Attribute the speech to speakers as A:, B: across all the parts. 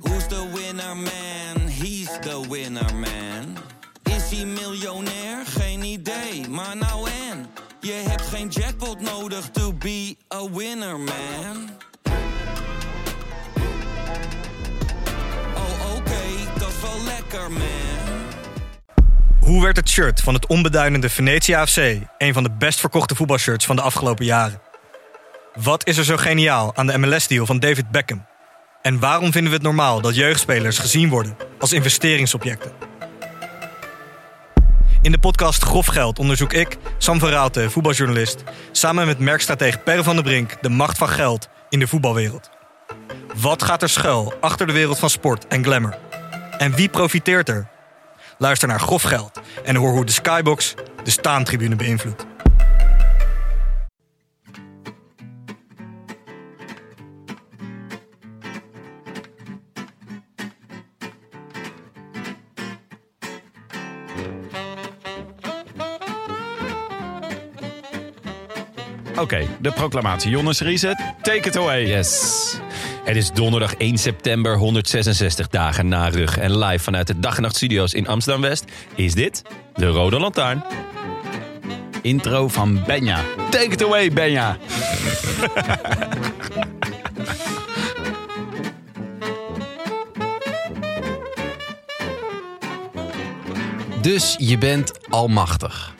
A: Who's the winner man? He's the winner man. Is hij miljonair? Geen idee, maar nou en. Je hebt geen jackpot nodig to be a winner man. Oh oké, dat is wel lekker man.
B: Hoe werd het shirt van het onbeduidende Venetia AFC een van de best verkochte voetbalshirts van de afgelopen jaren? Wat is er zo geniaal aan de MLS-deal van David Beckham? En waarom vinden we het normaal dat jeugdspelers gezien worden als investeringsobjecten? In de podcast Grof Geld onderzoek ik, Sam van Raalte, voetbaljournalist, samen met merkstratege Per van der Brink de macht van geld in de voetbalwereld. Wat gaat er schuil achter de wereld van sport en glamour? En wie profiteert er Luister naar grof geld en hoor hoe de Skybox de staantribune beïnvloedt.
C: Oké, de proclamatie. Jonas Riese, take it away.
D: Yes. Het is donderdag 1 september, 166 dagen na rug. En live vanuit de Dag en Nacht Studio's in Amsterdam-West is dit de Rode Lantaarn.
C: Intro van Benja. Take it away, Benja.
D: Dus je bent almachtig.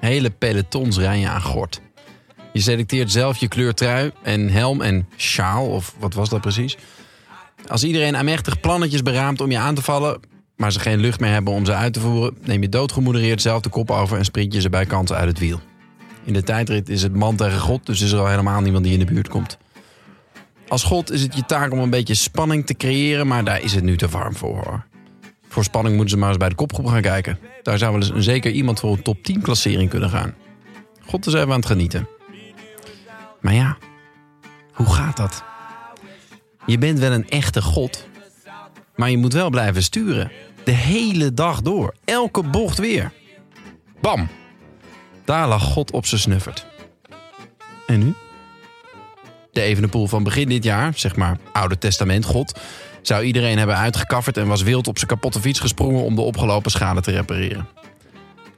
D: Hele pelotons rijden je aan gort. Je selecteert zelf je kleur trui en helm en sjaal, of wat was dat precies? Als iedereen aanmächtig plannetjes beraamt om je aan te vallen, maar ze geen lucht meer hebben om ze uit te voeren, neem je doodgemoedereerd zelf de kop over en sprint je ze bij kanten uit het wiel. In de tijdrit is het man tegen God, dus is er al helemaal niemand die in de buurt komt. Als God is het je taak om een beetje spanning te creëren, maar daar is het nu te warm voor hoor. Voor spanning moeten ze maar eens bij de kopgroep gaan kijken. Daar zou wel eens een zeker iemand voor een top 10 klassering kunnen gaan. God is even aan het genieten. Maar ja, hoe gaat dat? Je bent wel een echte God, maar je moet wel blijven sturen. De hele dag door, elke bocht weer. Bam! Daar lag God op zijn snuffert. En nu? De Evenepoel van begin dit jaar, zeg maar Oude Testament God, zou iedereen hebben uitgekafferd en was wild op zijn kapotte fiets gesprongen om de opgelopen schade te repareren.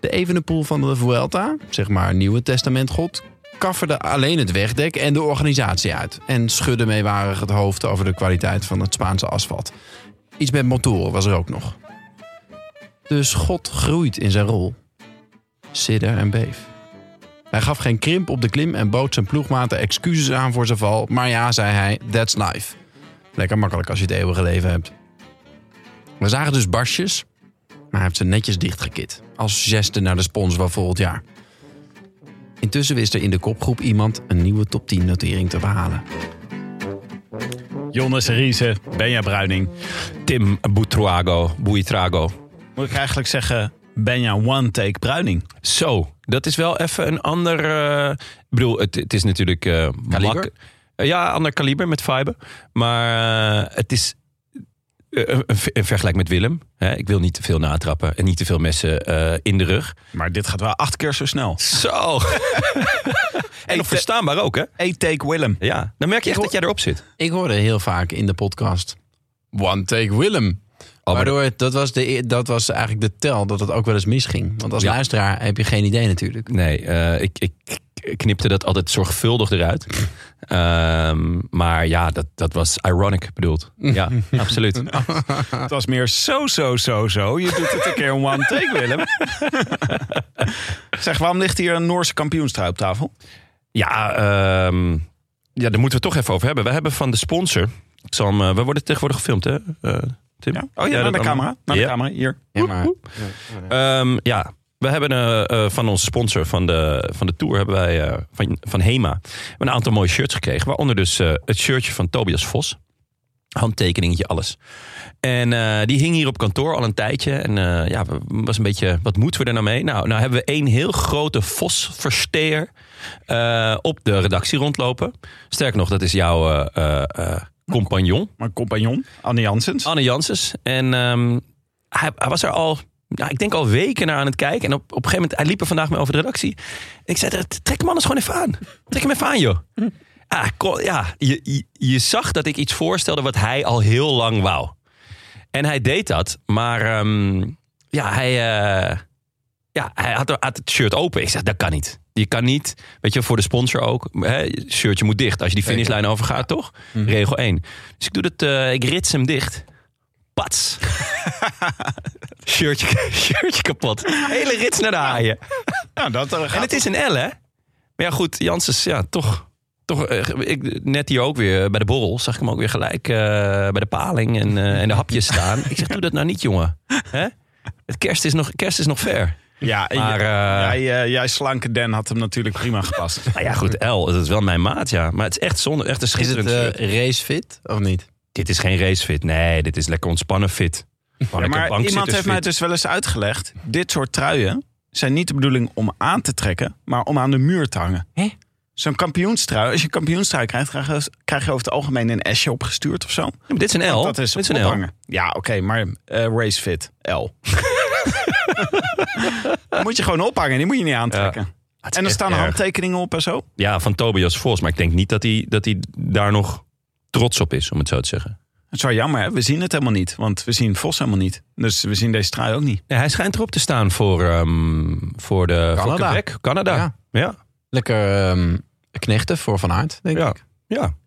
D: De Evenepoel van de Vuelta, zeg maar Nieuwe Testament God, kafferde alleen het wegdek en de organisatie uit. En schudde meewarig het hoofd over de kwaliteit van het Spaanse asfalt. Iets met motoren was er ook nog. Dus God groeit in zijn rol. Sidder en beef. Hij gaf geen krimp op de klim en bood zijn ploegmaten excuses aan voor zijn val. Maar ja, zei hij, that's life. Lekker makkelijk als je het eeuwige leven hebt. We zagen dus barstjes, maar hij heeft ze netjes dichtgekit. Als geste naar de sponsor van volgend jaar. Intussen wist er in de kopgroep iemand een nieuwe top 10 notering te behalen.
C: Jonas Riese, Benja Bruining.
D: Tim Buitrago, Buitrago.
C: Moet ik eigenlijk zeggen, Benja One Take Bruining.
D: Zo, dat is wel even een ander... eh, ik bedoel, het, het is natuurlijk... eh,
C: Kaliber?
D: mak- eh, ja, ander kaliber met fiber. Maar eh, het is... eh, Een een ver- een vergelijk met Willem. Hè? Ik wil niet te veel natrappen en niet te veel messen eh, in de rug.
C: Maar dit gaat wel acht keer zo snel.
D: Zo! en nog verstaanbaar ook, hè?
C: Hey, take Willem.
D: Ja, dan merk je echt dat jij erop zit.
E: Ik hoorde heel vaak in de podcast One Take Willem.
C: Oh,
E: Waardoor het- dat was, de, e- dat was eigenlijk de tel dat het ook wel eens misging. Want als
D: Ja.
E: luisteraar heb je geen idee natuurlijk.
D: Nee, eh, ik, ik ik knipte dat altijd zorgvuldig eruit. Ehm, maar ja, dat, dat was ironic bedoeld. Ja, absoluut.
C: Het was meer zo, zo, zo, zo. Je doet het een keer One Take Willem. zeg, waarom ligt hier een Noorse kampioenstrui op tafel?
D: Ja, ehm, ja, daar moeten we het toch even over hebben. We hebben van de sponsor. Ik zal hem, eh, we worden tegenwoordig gefilmd, hè? eh, Tim?
C: Ja? Oh
D: dat
C: ja, naar de
D: allemaal.
C: camera. Naar de
D: Ja.
C: camera, hier.
E: Ja, maar
D: Ehm, ja, we hebben eh, eh, van onze sponsor van de, van de tour, hebben wij, eh, van, van Hema, een aantal mooie shirts gekregen. Waaronder dus eh, het shirtje van Tobias Vos. Handtekeningetje, alles. En eh, die hing hier op kantoor al een tijdje. En eh, ja, we- was een beetje, wat moeten we er nou mee? Nou, nou hebben we één heel grote Vos-versteer eh, op de redactie rondlopen. Sterk nog, dat is jouw eh, eh, eh, compagnon.
C: Mijn compagnon, Anne Janssens.
D: Anne Janssens. En ehm, hij, hij was er al, nou, ik denk al weken naar aan het kijken. En op, op een gegeven moment, hij liep er vandaag mee over de redactie. En ik zei, tegen hem, trek hem anders gewoon even aan. Trek hem even aan, joh. ah, ko- ja, je, je, je zag dat ik iets voorstelde wat hij al heel lang wou. En hij deed dat, maar ehm, ja, hij, eh, ja, hij had, had het shirt open. Ik zeg, dat kan niet. Je kan niet, weet je, voor de sponsor ook. Hè, je shirtje moet dicht als je die finishlijn overgaat, toch? Regel 1. Dus ik doe dat, eh, ik rits hem dicht. Pats. shirtje, shirtje kapot. Hele rits naar de haaien.
C: Nou, dat eh,
D: En
C: gaat
D: het is een L, hè? Maar ja, goed, Janssens, ja, toch. toch eh, ik, net hier ook weer eh, bij de borrel zag ik hem ook weer gelijk eh, bij de paling en, eh, en de hapjes staan. Ik zeg, doe dat nou niet, jongen. Hè? Het kerst is nog, kerst is nog ver.
C: Ja,
D: Maar,
C: j-
D: eh,
C: jij, eh, jij slanke Den had hem natuurlijk prima gepast.
D: Nou ja, goed, L, dat is wel mijn maat, ja. Maar het is echt zonde, echt een
E: Is het
D: schitterend
E: eh,
D: shirt.
E: racefit of niet?
D: Dit is geen racefit. Nee, dit is lekker ontspannen fit.
C: Ja,
D: Lekker
C: maar
D: bankzitters
C: iemand heeft mij
D: fit.
C: dus wel eens uitgelegd: dit soort truien zijn niet de bedoeling om aan te trekken, maar om aan de muur te hangen.
D: Hè?
C: Zo'n kampioenstrui, als je een kampioenstrui krijgt, krijg je, krijg je over het algemeen een S'je opgestuurd of zo.
D: Ja, maar dit is een L.
C: dat is
D: dit
C: een
D: is een L.
C: ophanger. Ja, oké, maar eh racefit, L. Dan moet je gewoon ophangen, die moet je niet aantrekken.
D: Ah, Het is
C: En er
D: echt
C: staan
D: erg.
C: handtekeningen op en zo.
D: Ja, van Tobias Vos. Maar ik denk niet dat hij, dat hij daar nog trots op is, om het zo te zeggen.
C: Het is wel jammer, hè? we zien het helemaal niet. Want we zien Vos helemaal niet. Dus we zien deze trui ook niet.
D: Nee, hij schijnt erop te staan voor, ehm, voor de Canada. Voor
E: Canada.
D: Quebec, Canada. Ja.
E: Ja.
D: Ja.
E: Lekker ehm, knechten voor Van Aert, denk
D: Ja.
E: ik.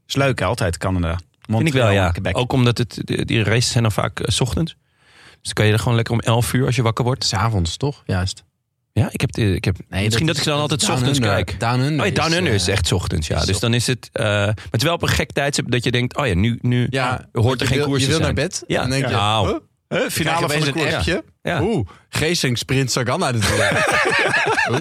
C: Is leuk, hè? altijd Canada.
D: vind ik wel,
C: Montreal,
D: ja.
C: Quebec.
D: Ook omdat het, die die races zijn dan vaak eh, 's ochtends. Dus dan kan je er gewoon lekker om 11 uur als je wakker wordt.
E: S'avonds, toch? Juist.
D: Ja, ik heb, de- ik heb
E: Nee,
D: misschien dat,
E: is-
D: ik dan altijd 's
E: Down
D: ochtends
E: Under.
D: kijk.
E: Down Under
D: Oh ja, Down Under
E: eh,
D: is echt 's ochtends, ja. Dus dan is het... eh, maar het is wel op een gek tijdstip dat je denkt... Oh ja, nu, nu
E: Ja,
D: hoort er
E: je
D: geen
E: wil-
D: koers
E: Je
D: te
E: wil
D: zijn.
E: naar bed
D: Ja.
E: en denk je...
D: Nou,
E: huh?
C: Huh?
E: Krijg je
C: Finale van
E: opeens
C: de
E: een
C: koers.
E: appje.
D: Ja.
E: Oeh, Geesink sprint Sagan uit het weer. Oeh,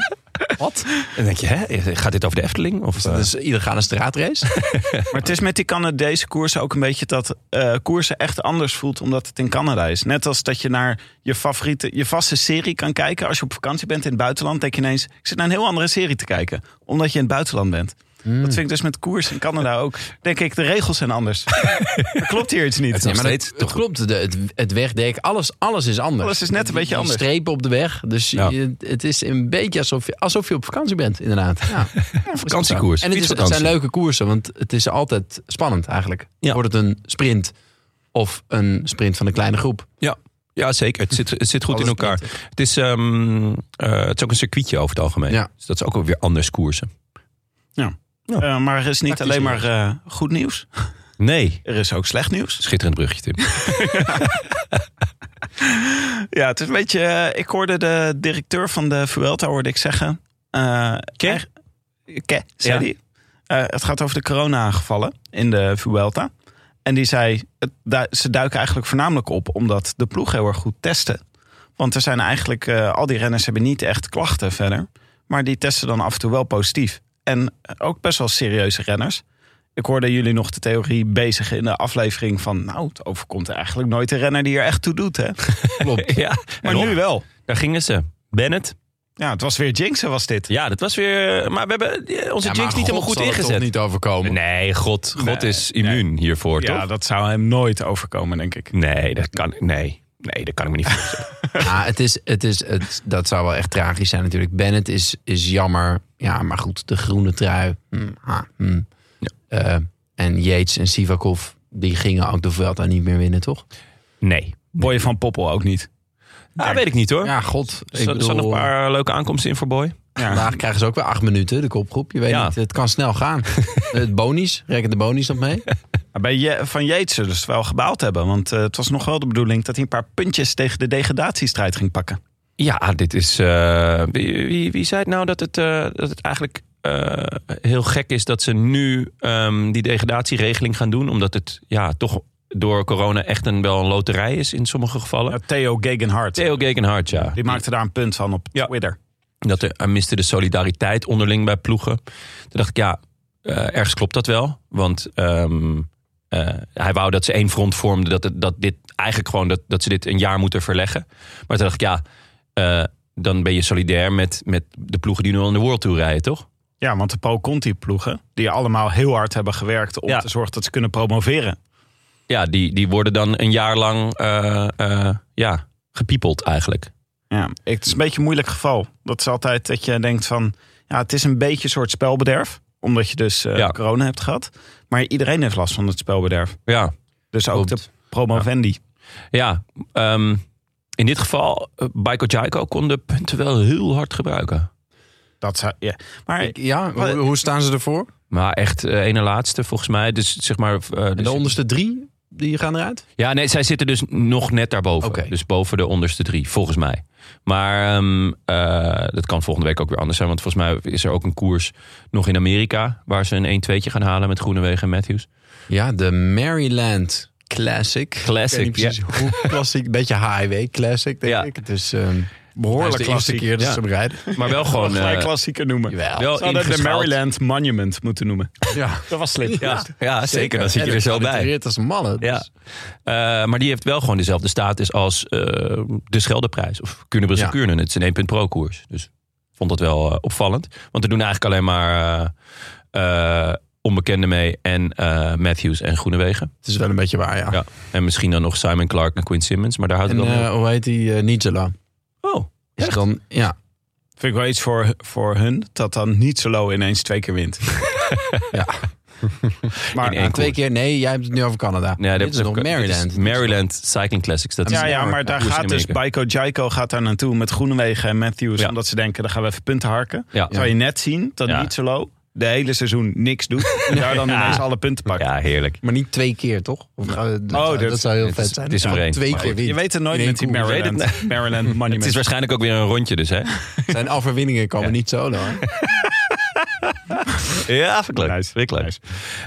E: Wat?
D: Dan denk je, hè, gaat dit over de Efteling? Of, eh,
E: Dus ieder gaat een straatrace.
C: Maar het is met die Canadese koersen ook een beetje dat eh, koersen echt anders voelt omdat het in Canada is. Net als dat je naar je favoriete, je vaste serie kan kijken. Als je op vakantie bent in het buitenland, denk je ineens: ik zit naar een heel andere serie te kijken. Omdat je in het buitenland bent. Dat vind ik dus met koers in Canada ook. Denk ik, de regels zijn anders. Er klopt hier iets niet.
D: nog
E: maar
D: steeds
E: dat, het klopt, de, het, het wegdek, alles, alles is anders.
C: Alles is net een beetje
E: Die
C: anders.
E: Strepen op de weg, dus
D: Ja.
E: je- het is een beetje alsof je, alsof je op vakantie bent, inderdaad. Ja.
D: vakantiekoers.
E: En het, is, het
D: fietsvakantie.
E: zijn leuke koersen, want het is altijd spannend eigenlijk.
D: Ja.
E: Wordt het een sprint of een sprint van een kleine groep?
D: Ja, ja zeker. Het zit, het zit goed in
E: Alles
D: elkaar. Het is, ehm, eh, het is ook een circuitje over het algemeen.
E: Ja.
D: Dus dat is ook wel weer anders koersen.
C: Eh, maar er is niet
E: Tactisch
C: alleen maar eh, goed nieuws.
D: Nee.
C: Er is ook slecht nieuws.
D: Schitterend brugje, Tim.
C: Ja, het is een beetje. eh, ik hoorde de directeur van de Vuelta hoorde ik zeggen. eh Ke? Ke, zei
D: Ja.
C: die. Eh, het gaat over de corona-gevallen in de Vuelta. En die zei, het, du- ze duiken eigenlijk voornamelijk op omdat de ploeg heel erg goed testen. Want er zijn eigenlijk, eh, al die renners hebben niet echt klachten verder. Maar die testen dan af en toe wel positief. En ook best wel serieuze renners. Ik hoorde jullie nog de theorie bezig in de aflevering van... nou, het overkomt eigenlijk nooit een renner die er echt toe doet, hè?
E: Klopt.
D: ja,
C: Maar
D: en op,
C: nu wel.
D: Daar gingen ze. Bennett.
C: Ja, het was weer Jinxen was dit.
D: Ja, dat was weer... Maar we hebben eh, onze
E: Ja,
D: jinx
E: maar
D: niet helemaal
E: God
D: goed
E: zal het toch
D: ingezet.
E: niet overkomen.
D: Nee, God, God is immuun hiervoor,
C: Ja,
D: toch?
C: dat zou hem nooit overkomen, denk ik.
D: Nee, dat kan, nee. nee, dat kan ik me niet voorstellen.
E: Ja, het is, het is, het, dat zou wel echt tragisch zijn natuurlijk. Bennett is, is jammer. Ja, maar goed, de groene trui. Hm, ah, hm. Eh, en Yates en Sivakov, die gingen ook de Vuelta niet meer winnen, toch?
D: Nee.
C: Boy van Poppel ook niet.
D: Ah, weet ik niet, hoor.
E: Ja, god.
D: Er
E: ik
D: staan- er staan nog
E: bedoel, eh,
D: een paar leuke aankomsten in voor Boy.
E: Vandaag krijgen ze ook weer acht minuten, de kopgroep. Je weet
D: Ja.
E: niet, het kan snel gaan. het bonies, reken de bonies nog mee.
C: Maar bij Je- van Yates zullen ze wel gebaald hebben. Want eh, het was nog wel de bedoeling dat hij een paar puntjes tegen de degradatiestrijd ging pakken.
D: Ja, dit is. eh, wie, wie, wie zei het nou dat het, eh, dat het eigenlijk eh, heel gek is dat ze nu ehm, die degradatieregeling gaan doen? Omdat het ja, toch door corona echt een, wel een loterij is in sommige gevallen.
C: Theo Gegenhardt.
D: Theo Gegenhardt, ja.
C: Die maakte daar een punt van op
D: Ja.
C: Twitter.
D: Dat er, hij miste de solidariteit onderling bij ploegen. Toen dacht ik, ja, eh, ergens klopt dat wel. Want ehm, eh, hij wou dat ze één front vormden. Dat, het- dat dit eigenlijk gewoon dat, dat ze dit een jaar moeten verleggen. Maar toen dacht ik, ja, eh, dan ben je solidair met, met de ploegen die nu al in de World Tour rijden, toch?
C: Ja, want de Paul Conti ploegen, die allemaal heel hard hebben gewerkt om
D: Ja.
C: te zorgen dat ze kunnen promoveren.
D: Ja, die, die worden dan een jaar lang eh, eh, ja, gepiepeld eigenlijk.
C: Ja, het is een beetje een moeilijk geval. Dat is altijd dat je denkt van, ja, het is een beetje een soort spelbederf. Omdat je dus eh,
D: Ja.
C: corona hebt gehad. Maar iedereen heeft last van het spelbederf.
D: Ja,
C: Dus ook
E: Klopt.
C: de promovendi.
D: ja ehm, in dit geval, eh, Baiko Jaiko kon de punten wel heel hard gebruiken.
C: Dat zou, ja. Maar
E: Ik- ja, hoe, hoe staan ze ervoor?
D: Maar echt eh ene laatste volgens mij. Dus zeg maar. eh,
E: En
D: dus-
E: de onderste drie, die gaan eruit?
D: ja, nee, zij zitten dus nog net daarboven.
E: Oké.
D: Dus boven de onderste drie, volgens mij. Maar ehm, eh, dat kan volgende week ook weer anders zijn. Want volgens mij is er ook een koers nog in Amerika. Waar ze een 1-2'tje gaan halen met Groenewegen en Matthews.
E: Ja, de Maryland Classic.
D: Classic,
E: Ik weet niet precies hoe klassiek, een beetje highway classic, denk
D: Ja.
E: ik. Het is ehm
C: behoorlijk
E: behoorlijk de eerste
C: klassiek.
E: keer dat
D: Ja.
E: ze hem rijden.
D: Maar wel gewoon.
C: gelijk
D: eh,
C: klassieker noemen.
E: Jawel.
D: wel
C: Ze hadden het de
D: ingeschaald.
C: Maryland Monument moeten noemen.
E: Ja,
C: Dat was slim.
D: Ja, ja zeker. Dan zit je
E: En
D: er zo bij.
E: geallitereerd als mannen.
D: Ja. Eh, maar die heeft wel gewoon dezelfde status als eh, de Scheldeprijs. Of Kuurne-Brussel
E: Ja.
D: Kuurne. Het is een 1 punt pro koers. Dus ik vond dat wel eh, opvallend. Want er doen eigenlijk alleen maar eh, eh, onbekenden mee. En eh, Matthews en Groenewegen.
E: Het is wel een beetje waar, ja.
D: Ja. En misschien dan nog Simon Clark en Quinn Simmons. Maar daar houdt
E: En
D: het dan mee
E: eh,
D: op.
E: hoe heet die? eh, Nigella.
D: Oh,
E: Is
D: echt?
E: dan, ja,
C: Vind ik wel iets voor, voor hun. Dat dan niet solo ineens twee keer wint.
E: Ja.
C: Maar
D: In één
E: twee keer. Nee, jij hebt het nu over Canada.
D: Nee, dat
E: Dit is nog
D: dit is
E: Maryland.
D: Maryland Cycling Classics. Dat
C: Ja,
D: is
C: ja, maar daar
D: koers in
C: gaat dus
D: Amerika.
C: Baiko Jaiko gaat daar naartoe met Groenewegen en Matthews.
D: Ja.
C: Omdat ze denken, dan gaan we even punten harken.
D: Ja.
C: Zou je net zien dat
D: Ja.
C: niet zo low de hele seizoen niks doet. En daar dan
D: Ja.
C: ineens alle punten pakken.
D: Ja, heerlijk.
E: Maar niet twee keer, toch? Of, gaan we- dat, zou-
C: dat-
E: dat zou heel
D: het
E: vet
D: is-
E: zijn.
D: het is er
E: Ja,
D: maar één.
E: Twee
D: Maar
E: keer
D: goed,
E: win.
C: Je weet het nooit
E: In één
C: met die
E: koers.
C: Maryland, Maryland Monument.
D: Het is waarschijnlijk ook weer een rondje dus, hè?
E: Zijn overwinningen komen
D: Ja.
E: niet solo. hè?
D: Ja, vind ik leuk.
C: Nice,
D: Vind ik leuk.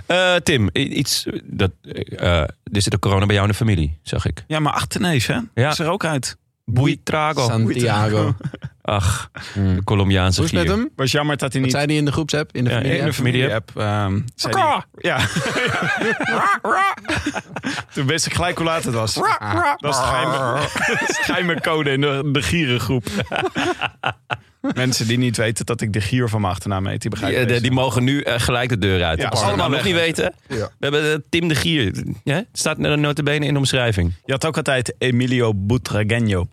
D: Eh, Tim, i- iets. eh, Dat, eh, eh, er zit ook corona bij jou in de familie, zag ik.
C: ja, maar achterneus, hè?
D: Ja.
C: Is er ook uit.
D: Buitrago.
E: Santiago.
D: Ach, de Colombiaanse
E: Hoe is het met
D: gier.
E: hem?
C: Was jammer dat hij
E: Wat
C: niet...
E: zei hij in de groepsapp? In de
D: Ja,
E: familie?
D: in de familie.
C: app. ehm, zei die- ja. Toen wist ik gelijk hoe laat het was.
E: Ah,
C: Dat is de geheime, dat is de geheime code in de, de gierengroep. Mensen die niet weten dat ik de gier van mijn achternaam heet, die
D: Die,
C: begrijpen
D: eh, de-
C: deze.
D: die mogen nu eh, gelijk de deur uit.
C: Ja,
D: Als ze het
C: allemaal
D: nou nog niet weten. We hebben eh, Tim de Gier. Ja? Het Staat er notabene in de omschrijving.
C: Je had ook altijd Emilio Butragueño.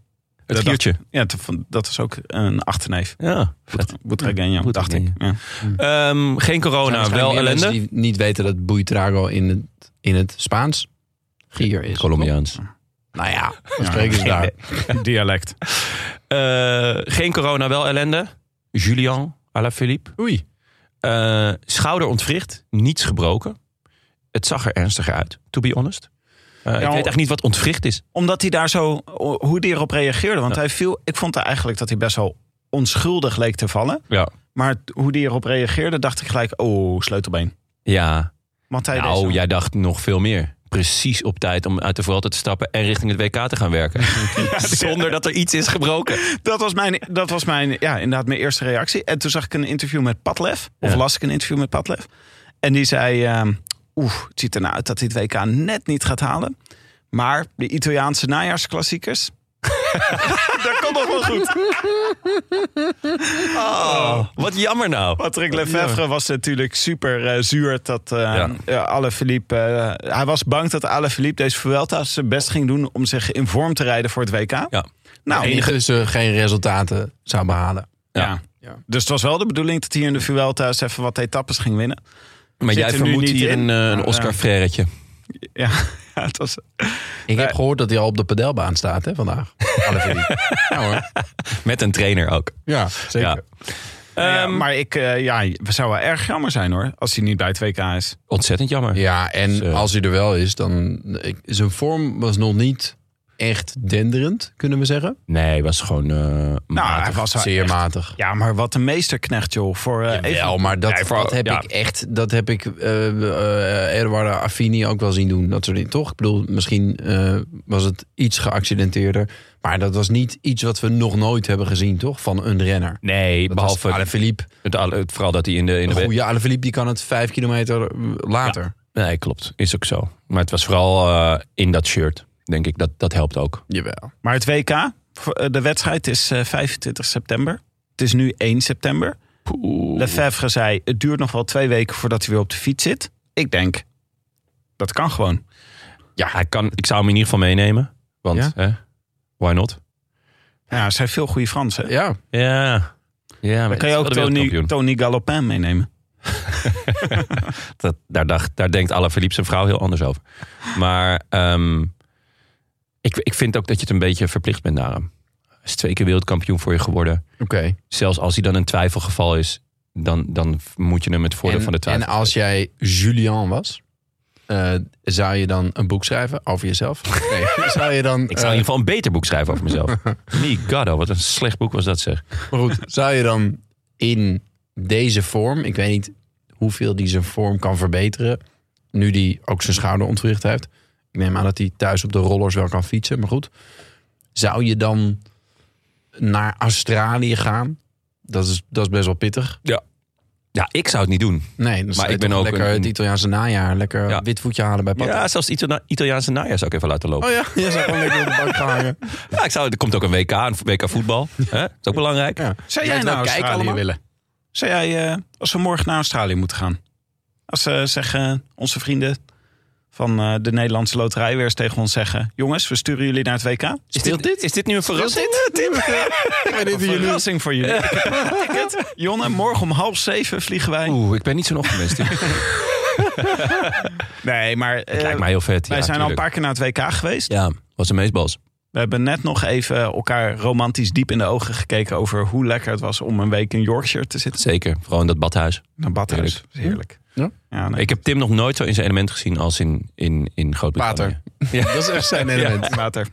D: Het
C: Dat
D: giertje.
C: Ja, dat vond- dat was ook een achterneef.
D: Ja, vet.
C: Butragueño, dacht ik. Ja.
D: Ehm, geen corona,
E: Zijn waarschijnlijk
D: wel
E: meer mensen
D: ellende.
E: die niet weten dat Buitrago in het, in het Spaans gier is.
D: Colombiaans.
E: Nou ja, dan spreken ze
C: Nou,
E: daar.
C: Dialect.
D: Eh, geen corona, wel ellende. Julian Alaphilippe.
E: Oei.
D: Eh, schouder ontwricht, niets gebroken. Het zag er ernstiger uit, to be honest. Eh, ik weet echt niet wat ontwricht is.
C: Omdat hij daar zo, hoe hij erop reageerde. Want
D: Ja.
C: hij viel, ik vond eigenlijk dat hij best wel onschuldig leek te vallen.
D: Ja.
C: Maar t- hoe hij erop reageerde, dacht ik gelijk, oh, sleutelbeen.
D: Ja,
C: Want hij deed zo.
D: nou, jij dacht nog veel meer. Precies op tijd om uit de Vuelta te stappen en richting het WK te gaan werken. Zonder dat er iets is gebroken.
C: Dat was, mijn, dat was mijn, ja, inderdaad mijn eerste reactie. En toen zag ik een interview met Patlev. Of
D: Ja.
C: las ik een interview met Patlev. En die zei, ehm oeh, het ziet ernaar uit dat hij het WK net niet gaat halen. Maar de Italiaanse najaarsklassiekers... dat komt nog wel goed.
D: Wat jammer nou.
C: Patrick Lefevre was natuurlijk super eh, zuur dat eh eh, Alaphilippe... eh, hij was bang dat Alaphilippe deze Vuelta zijn best ging doen... om zich in vorm te rijden voor het WK.
D: Ja.
C: Nou,
E: Enige
C: enige,
E: dus eh, geen resultaten zou behalen.
C: ja. Dus het was wel de bedoeling dat hij in de Vuelta eens even wat etappes ging winnen.
D: Maar
C: Zit
D: jij
C: er nu
D: vermoedt
C: niet
D: hier
C: in?
D: een, eh, een
C: Ja.
D: Oscar Freretje.
C: Ja, ja, het was,
E: Ik heb gehoord dat hij al op de padelbaan staat hè, vandaag. Alaphilippe. ja hoor.
D: Met een trainer ook.
E: Ja, zeker.
D: Ja.
C: Ja,
D: Ehm,
C: maar ik, eh, ja, we zou wel erg jammer zijn hoor, als hij niet bij het WK is.
D: Ontzettend jammer.
E: Ja, en
D: Dus, eh,
E: als hij er wel is, dan... ik- zijn vorm was nog niet echt denderend, kunnen we zeggen.
D: Nee, was gewoon. eh,
C: Nou,
D: matig.
C: hij was wel
E: Zeer
C: echt-
E: matig.
C: Ja, maar wat een meesterknecht joh. Voor, eh, even-
E: Wel, maar dat,
D: Ja, voor-
E: dat heb
D: ja.
E: ik echt... Dat heb ik eh eh, Eduardo Affini ook wel zien doen. Dat soort dingen, toch? Ik bedoel, misschien eh, was het iets geaccidenteerder. Maar dat was niet iets wat we nog nooit hebben gezien, toch? Van een renner.
D: nee,
E: Dat
D: behalve
E: was Alaphilippe.
D: het, het- vooral dat hij in de. In
E: Een
D: de we-
E: goede Alaphilippe, die kan het vijf kilometer eh, later.
D: Nee, klopt. Is ook zo. Maar het was vooral eh, in dat shirt, denk ik. Dat, dat helpt ook.
E: Jawel.
C: Maar het WK, voor- eh, de wedstrijd is eh, 25 september. Het is nu 1 september. Lefebvre zei, het duurt nog wel twee weken voordat hij weer op de fiets zit. Ik denk, dat kan gewoon.
D: Ja, hij kan, ik zou hem in ieder geval meenemen. Want,
E: Ja?
D: hè, why not?
C: Ja, er zijn veel goede Fransen.
E: Ja,
D: Ja. Ja, maar
C: Dan kan je ook Tony, Tony Galopin meenemen.
D: dat, daar, dacht, daar denkt Alaphilippe zijn vrouw heel anders over. Maar ehm, ik, ik vind ook dat je het een beetje verplicht bent naar hem. Hij is twee keer wereldkampioen voor je geworden.
E: Oké.
D: Zelfs als hij dan een twijfelgeval is, dan, dan moet je hem het voordeel
E: En,
D: van de twijfel.
E: en als jij Julian was, eh, zou je dan een boek schrijven over jezelf? Nee, zou je dan... eh,
D: Ik zou in ieder geval een beter boek schrijven over mezelf. Me Gaddo, wat een slecht boek was dat zeg.
E: Maar goed, zou je dan in deze vorm, ik weet niet hoeveel die zijn vorm kan verbeteren, nu die ook zijn schouder ontwricht heeft. Ik neem aan dat hij thuis op de rollers wel kan fietsen, maar goed. Zou je dan naar Australië gaan? Dat is, dat is best wel pittig.
D: Ja, ik zou het niet doen.
E: Nee, dan
D: Maar
E: maar
D: ik ben ook
E: lekker
D: een-
E: het Italiaanse najaar. Lekker
D: Ja.
E: wit voetje halen bij papa.
D: Ja, zelfs het Itali- Italiaanse najaar zou ik even laten lopen.
E: Oh ja, je zou gewoon lekker op de bank gaan hangen.
D: Ja, ik zou, er komt ook een WK, een WK voetbal. Hè? Dat is ook belangrijk.
E: Ja.
C: Zou
E: Je
C: jij
E: weet
C: naar
E: wel kijken
C: Australië
E: allemaal.
C: willen? Zou jij, eh, als we morgen naar Australië moeten gaan? Als ze zeggen, onze vrienden van eh, de Nederlandse Loterij weer eens tegen ons zeggen... jongens, we sturen jullie naar het WK.
D: Is dit, is dit nu een verrassing?
C: Een verrassing voor jullie. Ik heb een ticket. Jonne, morgen om half zeven vliegen wij.
D: Oeh, ik ben niet zo'n optimist.
C: Nee, maar eh,
D: Lijkt mij heel vet.
C: wij
D: ja,
C: zijn al een
D: tuurlijk.
C: paar keer naar het WK geweest.
D: Ja, was een meestbals.
C: We hebben net nog even elkaar romantisch diep in de ogen gekeken... over hoe lekker het was om een week in Yorkshire te zitten.
D: Zeker, vooral in dat badhuis.
C: Naar Badhuis. Heerlijk.
E: Ja.
C: Ja, nee.
D: Ik heb Tim nog nooit zo in zijn element gezien als in, in, in Groot-Brittannië.
E: Water. Dat is echt zijn element.
C: Water.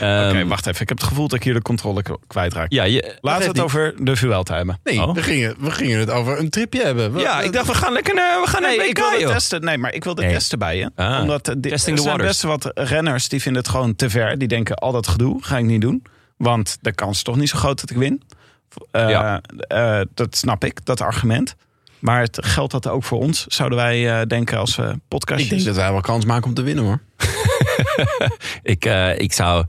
D: Ehm,
C: Oké, wacht even. Ik heb het gevoel dat ik hier de controle k- kwijtraak.
D: Ja, je,
C: Laten we het over de Vuelta hebben.
E: Nee,
D: Oh.
E: we, gingen, we gingen het over een tripje hebben. We-
D: ja, ik dacht, we gaan lekker naar, we gaan naar
C: Nee,
D: het
C: ik
D: WK,
C: wilde
D: joh.
C: testen. Nee, maar ik wilde
D: Nee.
C: testen bij je.
D: Ah,
C: Omdat eh, die,
D: testing
C: er
D: the
C: zijn
D: waters.
C: best wat renners die vinden het gewoon te ver. Die denken, al dat gedoe ga ik niet doen. Want de kans is toch niet zo groot dat ik win. Eh,
D: Ja.
C: eh, dat snap ik, dat argument. Maar het geldt dat ook voor ons, zouden wij eh, denken als we
E: Ik denk
C: podcastjes...
E: dat wij wel kans maken om te winnen hoor.
D: Ik, eh, ik, zou,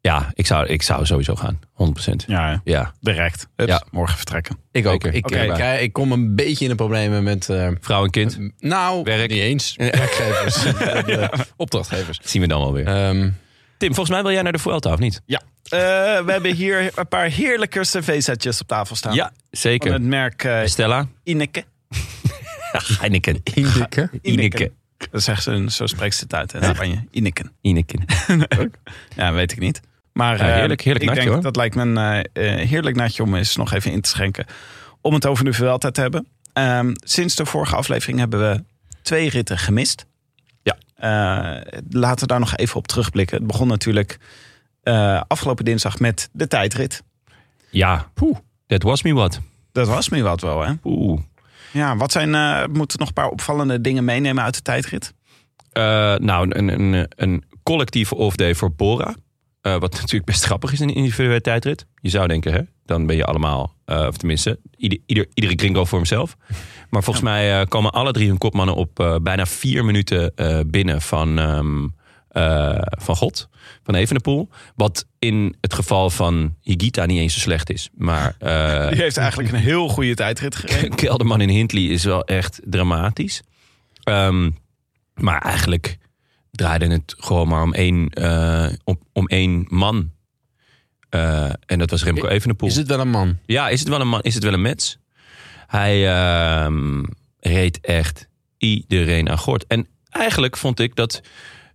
D: ja, ik, zou, ik zou sowieso gaan, 100%.
C: Ja, ja,
D: Ja,
C: direct. Hups,
D: Ja.
C: Morgen vertrekken.
D: ik ook.
E: Ik,
C: Oké.
E: ik, eh, ik kom een beetje in de problemen met. eh,
D: Vrouw en kind,
E: nou,
D: Werk.
E: niet eens. Werkgevers. Eh, Opdrachtgevers.
D: zien we dan wel weer.
E: Ehm,
D: Tim, volgens mij wil jij naar de Vuelta, of niet?
C: Eh, we hebben hier een paar heerlijke cervezetjes op tafel staan.
D: Ja, zeker.
C: Van het merk eh
D: Stella.
C: Ineke.
D: Heineken.
E: Indikker.
D: Ineke.
C: Dat zegt ze, zo spreekt ze het uit in Spanje. Ineken.
D: Ineken.
C: Ja, weet ik niet. Maar
D: Ja,
C: eh,
D: heerlijk- heerlijk
C: ik
D: natje,
C: denk,
D: hoor.
C: dat lijkt me een eh, eh, heerlijk natje om eens nog even in te schenken. Om het over de Vuelta te hebben. Ehm, sinds de vorige aflevering hebben we twee ritten gemist.
D: Ja.
C: Eh, laten we daar nog even op terugblikken. Het begon natuurlijk eh, afgelopen dinsdag met de tijdrit.
D: Ja, poeh. That was me what.
C: Dat was me wat wel, hè?
D: Poeh.
C: Ja, wat zijn, eh, moeten nog een paar opvallende dingen meenemen uit de tijdrit?
D: Eh, nou, een, een, een collectieve off-day voor Bora. Eh, wat natuurlijk best grappig is in een individuele tijdrit. Je zou denken, hè, dan ben je allemaal, eh, of tenminste, ieder, ieder, iedere gringo voor hemzelf. Maar volgens mij eh, komen alle drie hun kopmannen op eh, bijna vier minuten eh, binnen van, ehm, eh, van God, van Evenepoel. Wat in het geval van Higita niet eens zo slecht is. Maar eh,
C: Die heeft eigenlijk een heel goede tijdrit gereden.
D: Kelderman in Hindley is wel echt dramatisch. Ehm, maar eigenlijk draaide het gewoon maar om één, eh, om, om één man. Eh, en dat was Remco Evenepoel.
E: Is het wel een man?
D: Ja, is het wel een man? Is het wel een mens? Hij ehm, reed echt iedereen aan gort. En eigenlijk vond ik dat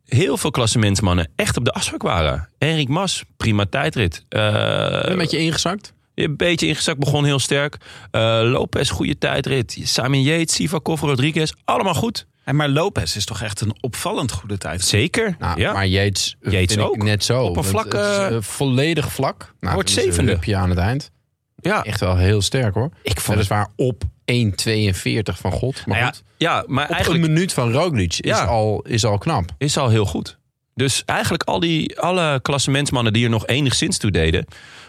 D: heel veel klassementsmannen echt op de afspraak waren. Henrik Mas, prima tijdrit. Eh,
E: Een beetje ingezakt?
D: een beetje ingezakt, begon heel sterk. Eh, Lopez, goede tijdrit. Samin Yates, Sivakov, Rodriguez, allemaal goed.
C: En maar Lopez is toch echt een opvallend goede tijdrit.
D: Zeker.
E: Nou,
D: ja.
E: Maar Yates, eh,
D: Yates
E: vind ik
D: ook.
E: net zo.
D: Op een
E: Want
D: vlak,
E: het is,
D: eh,
E: eh, volledig vlak. Nou,
D: wordt
E: dat is een
D: zevende.
E: hupje aan het eind.
D: ja.
E: Echt wel heel sterk hoor.
D: Ik
E: Dat
D: vond
E: is waar op 1,42 van God. Maar
D: Nou ja,
E: goed,
D: ja, maar
E: op
D: eigenlijk
E: een minuut van Roglic is,
D: Ja.
E: al, is al knap.
D: is al heel goed. Dus eigenlijk al die, alle klassementsmannen die er nog enigszins toe deden,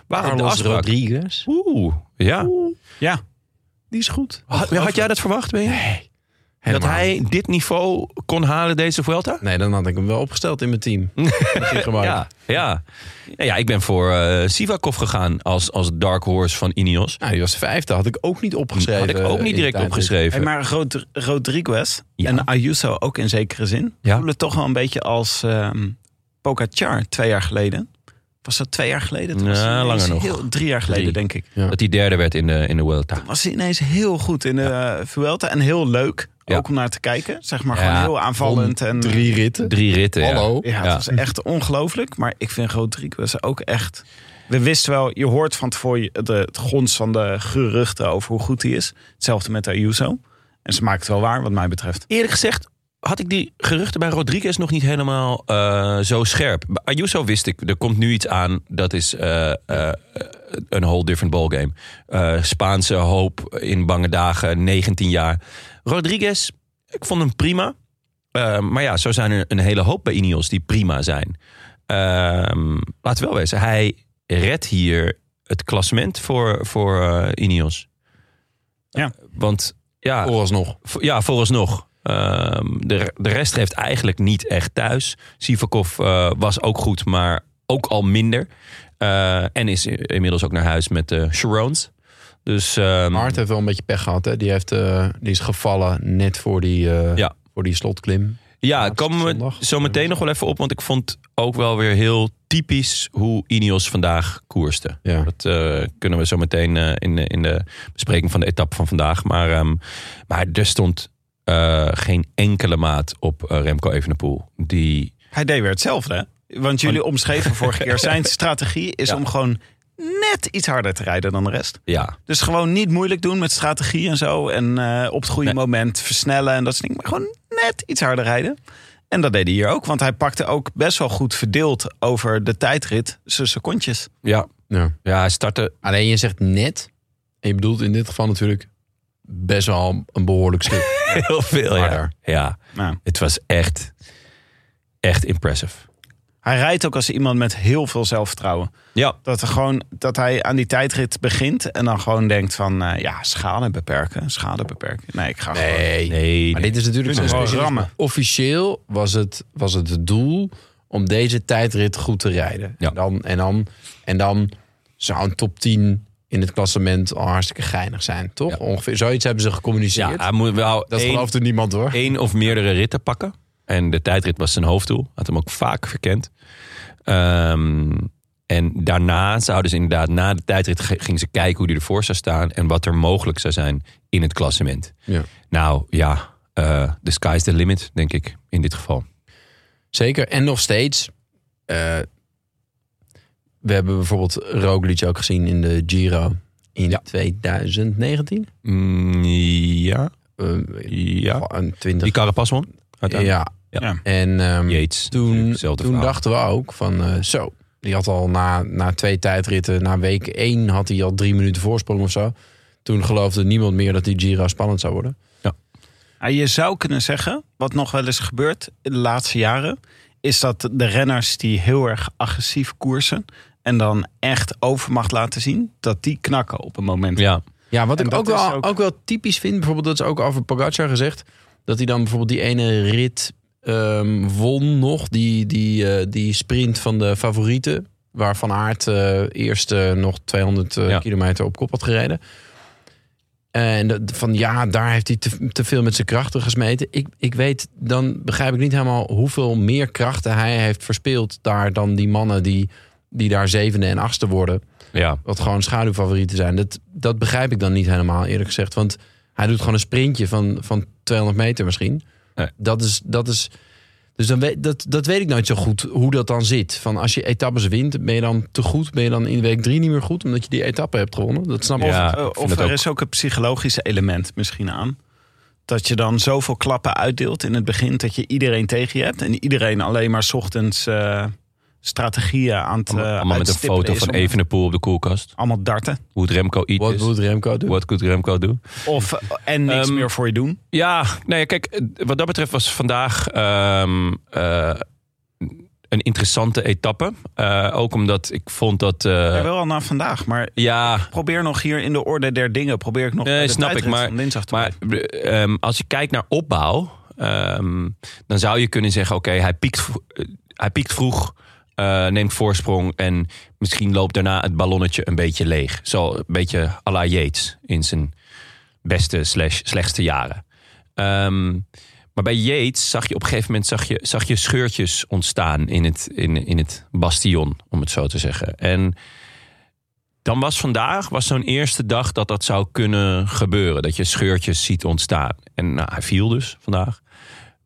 D: waren op de
E: Carlos
D: afspraak.
E: Rodriguez.
D: Oeh, ja.
C: Ja.
E: Die is goed.
D: Had, had jij dat verwacht, ben je? dat
E: Helemaal
D: hij dit niveau kon halen deze Vuelta?
E: Nee, dan had ik hem wel opgesteld in mijn team. ja.
D: Ja, ja. Nou ja, ik ben voor eh, Sivakov gegaan als, als dark horse van Ineos.
E: Nou, die was vijfde, had ik ook niet opgeschreven.
D: Had ik ook
E: eh, in
D: niet direct
E: de tijdrit.
D: opgeschreven.
C: Hey, maar Rod- Rodriguez
D: Ja.
C: en Ayuso ook in zekere zin
D: Ja.
C: voelen toch wel een beetje als ehm Pogacar twee jaar geleden. was dat twee jaar geleden? Toen
D: Ja,
C: was hij ineens
D: langer nog.
C: Heel, drie jaar geleden,
D: Drie.
C: denk ik.
D: Dat hij derde werd in de, in de World
C: Was hij ineens heel goed in de eh, Vuelta en heel leuk.
D: Ja.
C: Ook om naar te kijken. Zeg maar
D: Ja,
C: gewoon heel aanvallend. En,
E: Dus Drie ritten.
D: Drie ritten. ja.
E: Hallo.
C: Ja,
D: Ja.
C: het was echt ongelooflijk. Maar ik vind Rodriguez ook echt... We wisten wel, je hoort van tevoren de, het gons van de geruchten over hoe goed hij is. Hetzelfde met Ayuso. En ze maakt het wel waar, wat mij betreft.
D: Eerlijk gezegd had ik die geruchten bij Rodriguez nog niet helemaal eh, zo scherp. Bij Ayuso wist ik, er komt nu iets aan. Dat is eh, eh, een whole different ballgame. Eh, Spaanse hoop in bange dagen, 19 jaar. Rodriguez, ik vond hem prima. Eh, maar ja, zo zijn er een hele hoop bij Ineos die prima zijn. Ehm laten we wel wezen, hij redt hier het klassement voor, voor eh, Ineos.
C: Ja.
D: Want ja,
E: Vooralsnog.
D: Vo- Ja, vooralsnog. Ehm de, de rest heeft eigenlijk niet echt thuis. Sivakov eh, was ook goed, maar ook al minder. Eh, en is i- inmiddels ook naar huis met de Sharons. Dus ehm,
E: Hart heeft wel een beetje pech gehad. Hè? Die, heeft, eh, die is gevallen net voor die, eh,
D: Ja.
E: voor die slotklim.
D: ja,
E: laatst
D: komen we
E: zondag.
D: zo meteen nog wel even op. Want ik vond ook wel weer heel typisch hoe Ineos vandaag koerste.
E: Ja.
D: Dat eh, kunnen we zo meteen eh, in, de- in de bespreking van de etappe van vandaag. Maar, ehm, maar er stond eh, geen enkele maat op eh, Remco Evenepoel. Die
C: Hij deed weer hetzelfde, hè? Want jullie omschreven vorige keer. Zijn strategie is
D: Ja.
C: om gewoon net iets harder te rijden dan de rest.
D: ja,
C: Dus gewoon niet moeilijk doen met strategie en zo. En eh, op het goede
D: Nee.
C: moment versnellen en dat soort dingen. Maar gewoon net iets harder rijden. En dat deed hij hier ook. Want hij pakte ook best wel goed verdeeld over de tijdrit zijn secondjes.
D: Ja.
E: Ja.
D: Ja, hij startte.
E: Alleen je zegt net. En je bedoelt in dit geval natuurlijk best wel een behoorlijk stuk.
D: Heel veel, ja.
E: Harder.
D: ja.
C: Nou,
D: Het was echt, echt impressive.
C: hij rijdt ook als iemand met heel veel zelfvertrouwen.
D: Ja.
C: Dat, er gewoon, dat hij aan die tijdrit begint en dan gewoon denkt van... eh, ja, schade beperken, schade beperken. Nee, ik ga gewoon...
E: Nee.
D: Nee.
E: Maar dit is natuurlijk
C: Kunnen
E: zo'n
C: we
E: specialisme.
C: rammen.
E: Officieel was het, was het het doel om deze tijdrit goed te rijden.
D: Ja.
E: En, dan, en, dan, en dan zou een top 10 in het klassement al hartstikke geinig zijn, toch? Ongeveer zoiets hebben ze
D: ja,
E: gecommuniceerd.
D: hij moet wel
E: dat
D: één,
E: geloofde niemand hoor.
D: één of meerdere ritten pakken. En de tijdrit was zijn hoofddoel. Had hem ook vaak verkend. Ehm, en daarna zouden ze inderdaad, na de tijdrit, ge- gingen ze kijken hoe die ervoor zou staan. En wat er mogelijk zou zijn in het klassement.
E: Ja.
D: Nou ja, eh the sky's the limit, denk ik, in dit geval.
E: Zeker. En nog steeds. eh, we hebben bijvoorbeeld Roglic ook gezien in de Giro in 2019.
D: Mm, ja,
E: Eh,
D: ja.
E: Een 20.
D: Die Carapaz won. uiteindelijk.
E: ja.
C: Ja.
E: En ehm,
D: Yates.
E: toen,
D: Natuurlijk, zelfde
E: toen
D: verhaal.
E: dachten we ook van eh, zo. Die had al na, na twee tijdritten, na week één had hij al drie minuten voorsprong of zo. Toen geloofde niemand meer dat die Giro spannend zou worden.
C: Ja, je zou kunnen zeggen, wat nog wel eens gebeurt in de laatste jaren, is dat de renners die heel erg agressief koersen en dan echt overmacht laten zien, dat die knakken op een moment.
D: Ja.
E: Ja, wat
C: En
E: ik
C: dat
E: ook
C: is
E: wel,
C: ook-
E: ook... wel typisch vind, bijvoorbeeld dat is ook over Pogacar gezegd, dat hij dan bijvoorbeeld die ene rit ehm, won nog, die, die, eh, die sprint van de favorieten, waar Van Aert eh, eerst eh, nog 200 eh,
D: Ja.
E: kilometer op kop had gereden. En dat- van ja, daar heeft hij te, te veel met zijn krachten gesmeten. Ik, ik weet, dan begrijp ik niet helemaal hoeveel meer krachten hij heeft verspeeld daar dan die mannen die, die daar zevende en achtste worden
D: ja.
E: wat gewoon schaduwfavorieten zijn. Dat, dat begrijp ik dan niet helemaal, eerlijk gezegd. Want hij doet gewoon een sprintje van, van 200 meter misschien.
D: Nee.
E: Dat is. Dat is dus dan weet, dat, dat weet ik nooit zo goed hoe dat dan zit. Van als je etappes wint, ben je dan te goed? Ben je dan in week drie niet meer goed omdat je die etappe hebt gewonnen? Dat snap ik.
D: Ja.
C: Eh,
D: ik vind
C: of
D: dat
C: er
D: ook.
C: is ook een psychologisch element misschien aan. Dat je dan zoveel klappen uitdeelt in het begin dat je iedereen tegen je hebt. En iedereen alleen maar 's ochtends eh, strategieën aan het
D: Allemaal, allemaal met een
C: uitstippelen
D: foto
C: is
D: van
C: om-
D: Evenepoel op de koelkast.
C: Allemaal darten.
D: Hoe het Remco iets
E: Wat
D: is.
E: moet Remco doen?
D: What could Remco doen?
C: Of, eh, en niks
D: Ehm,
C: meer voor je doen.
D: Ja, nou ja, kijk, eh, wat dat betreft was vandaag ehm, eh, een interessante etappe. Eh, ook omdat ik vond dat... eh,
C: Ja, wel al na nou, vandaag, maar
D: ja,
C: probeer nog hier in de orde der dingen. Probeer ik nog
D: Nee,
C: bij de
D: snap ik,
C: tijdrit
D: maar-
C: van dinsdag te
D: Maar eh, ehm, als je kijkt naar opbouw, ehm, dan zou je kunnen zeggen: oké, hij, piekt, vro- eh, hij piekt vroeg, eh, neemt voorsprong en misschien loopt daarna het ballonnetje een beetje leeg. Zo een beetje à la Yates in zijn beste slash slechtste jaren. Ehm, Maar bij Yates zag je op een gegeven moment zag je, zag je scheurtjes ontstaan in het, in, in het bastion, om het zo te zeggen. En dan was vandaag was zo'n eerste dag dat dat zou kunnen gebeuren. Dat je scheurtjes ziet ontstaan. En nou, hij viel dus vandaag.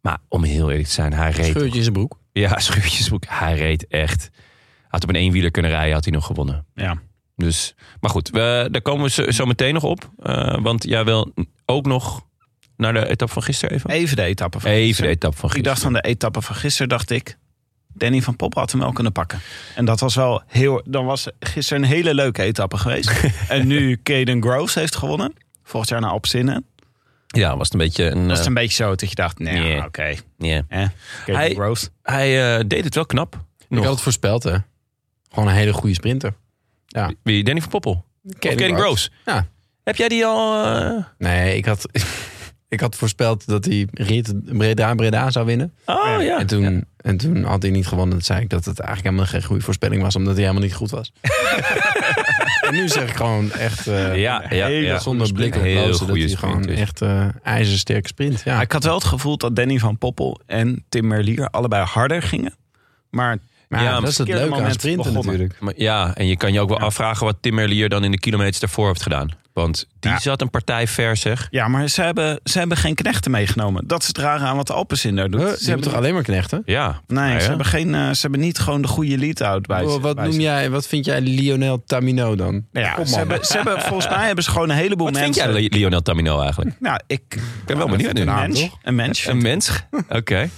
D: Maar om heel eerlijk te zijn, hij reed
E: Scheurtje in zijn broek.
D: ja, Schuurtjesbroek. Hij reed echt. Had op een eenwieler kunnen rijden, had hij nog gewonnen.
C: Ja.
D: Dus, maar goed, we, daar komen we zo, zo meteen nog op. Eh, want jij wil ook nog naar de etappe van gisteren even?
C: Even de etappe van
D: Even de
C: gisteren.
D: etappe van
C: Ik
D: gisteren.
C: dacht aan de etappe van gisteren, dacht ik... Danny van Poppen had hem wel kunnen pakken. En dat was wel heel... Dan was gisteren een hele leuke etappe geweest. en nu Caden Groves heeft gewonnen. Volgend jaar naar Alpzinnen.
D: Ja, was het een beetje een...
C: Was het
D: eh,
C: een beetje zo dat je dacht, nee,
D: Nee.
C: oké.
D: ja.
C: hè, Caden
D: Hij-
C: Groves.
D: Hij eh, deed het wel knap.
E: Ik
D: Nog.
E: had het voorspeld, hè. Gewoon een hele goede sprinter.
D: Wie? Danny van Poppel.
E: Caden
D: of Caden
E: Groves.
D: Groves.
E: Ja.
D: Heb jij die al... eh,
E: Nee, ik had, ik had voorspeld dat hij Rit Breda Breda zou winnen.
D: Oh ja.
E: En, toen, en toen had hij niet gewonnen. Toen zei ik dat het eigenlijk helemaal geen goede voorspelling was, omdat hij helemaal niet goed was. en nu zeg ik gewoon echt... eh,
D: Ja, ja,
C: hele
D: ja.
E: Zonder blik op
D: Heel
E: lozen, dat
D: goede
E: hij gewoon
D: sprint is.
E: echt eh ijzersterk sprint. Ja.
C: Ik had wel het gevoel dat Danny van Poppel en Tim Merlier allebei harder gingen. Maar
E: Maar
D: Ja,
E: dat is het
C: verkeerde
E: leuke aan
C: moment
E: sprinten
C: begonnen.
E: natuurlijk.
D: Maar ja, en je kan je ook wel afvragen wat Tim Merlier dan in de kilometers daarvoor heeft gedaan. Want die
C: Ja.
D: zat een partij ver, zeg.
C: Ja, maar ze hebben, ze hebben geen knechten meegenomen. Dat is het rare aan wat de Alpecin daar doet.
E: Huh,
C: ze
E: Ze hebben toch alleen maar knechten?
D: Ja. Ah,
C: Nee,
D: Ja, Oh,
C: ze,
D: ja.
C: hebben geen, eh, ze hebben niet gewoon de goede lead-out bij
E: Oh, Wat,
C: zich- bij
E: noem
C: zich.
E: jij, wat vind jij Lionel Tamino dan?
C: Nou ja,
E: Kom,
C: ze
E: man.
C: hebben, ze hebben, volgens mij hebben ze gewoon een heleboel
D: Wat vind
C: mensen...
D: jij Le- Lionel Tamino eigenlijk?
C: Nou, ik
D: ben wel benieuwd nu.
C: Een
D: Naam,
C: mens.
D: toch?
C: Een mens.
D: Een mens? Oké.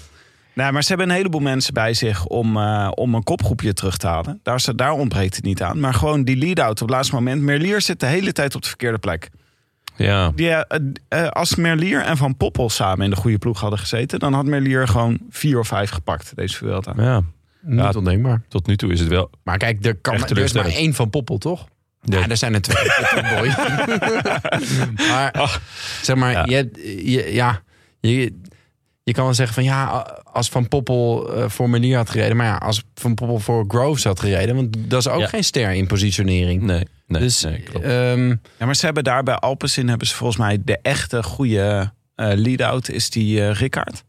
C: Nou, maar ze hebben een heleboel mensen bij zich om, eh, om een kopgroepje terug te halen. Daar, is het- daar ontbreekt het niet aan. Maar gewoon die lead-out op het laatste moment. Merlier zit de hele tijd op de verkeerde plek.
D: Ja.
C: Die, eh, eh, als Merlier en Van Poppel samen in de goede ploeg hadden gezeten... dan had Merlier gewoon vier of vijf gepakt, deze Vuelta.
D: ja.
E: Niet ondenkbaar.
D: Tot nu toe is het wel.
E: Maar kijk, er, kan,
D: Echt
E: er is maar
D: teleurstellend.
E: één van Poppel, toch? Ja, er zijn er twee. Boy. maar zeg maar,
D: Ah. Ja.
E: Je, hebt- je, ja, je, je kan wel zeggen van ja, als Van Poppel eh, voor Melier had gereden. Maar ja, als Van Poppel voor Groves had gereden. Want dat is ook
D: Ja.
E: geen ster in positionering.
D: Nee. nee
E: dus
D: nee, klopt.
E: ehm,
C: Ja, maar ze hebben daar bij Alpecin hebben ze volgens mij de echte goede eh lead-out is die eh Ricard.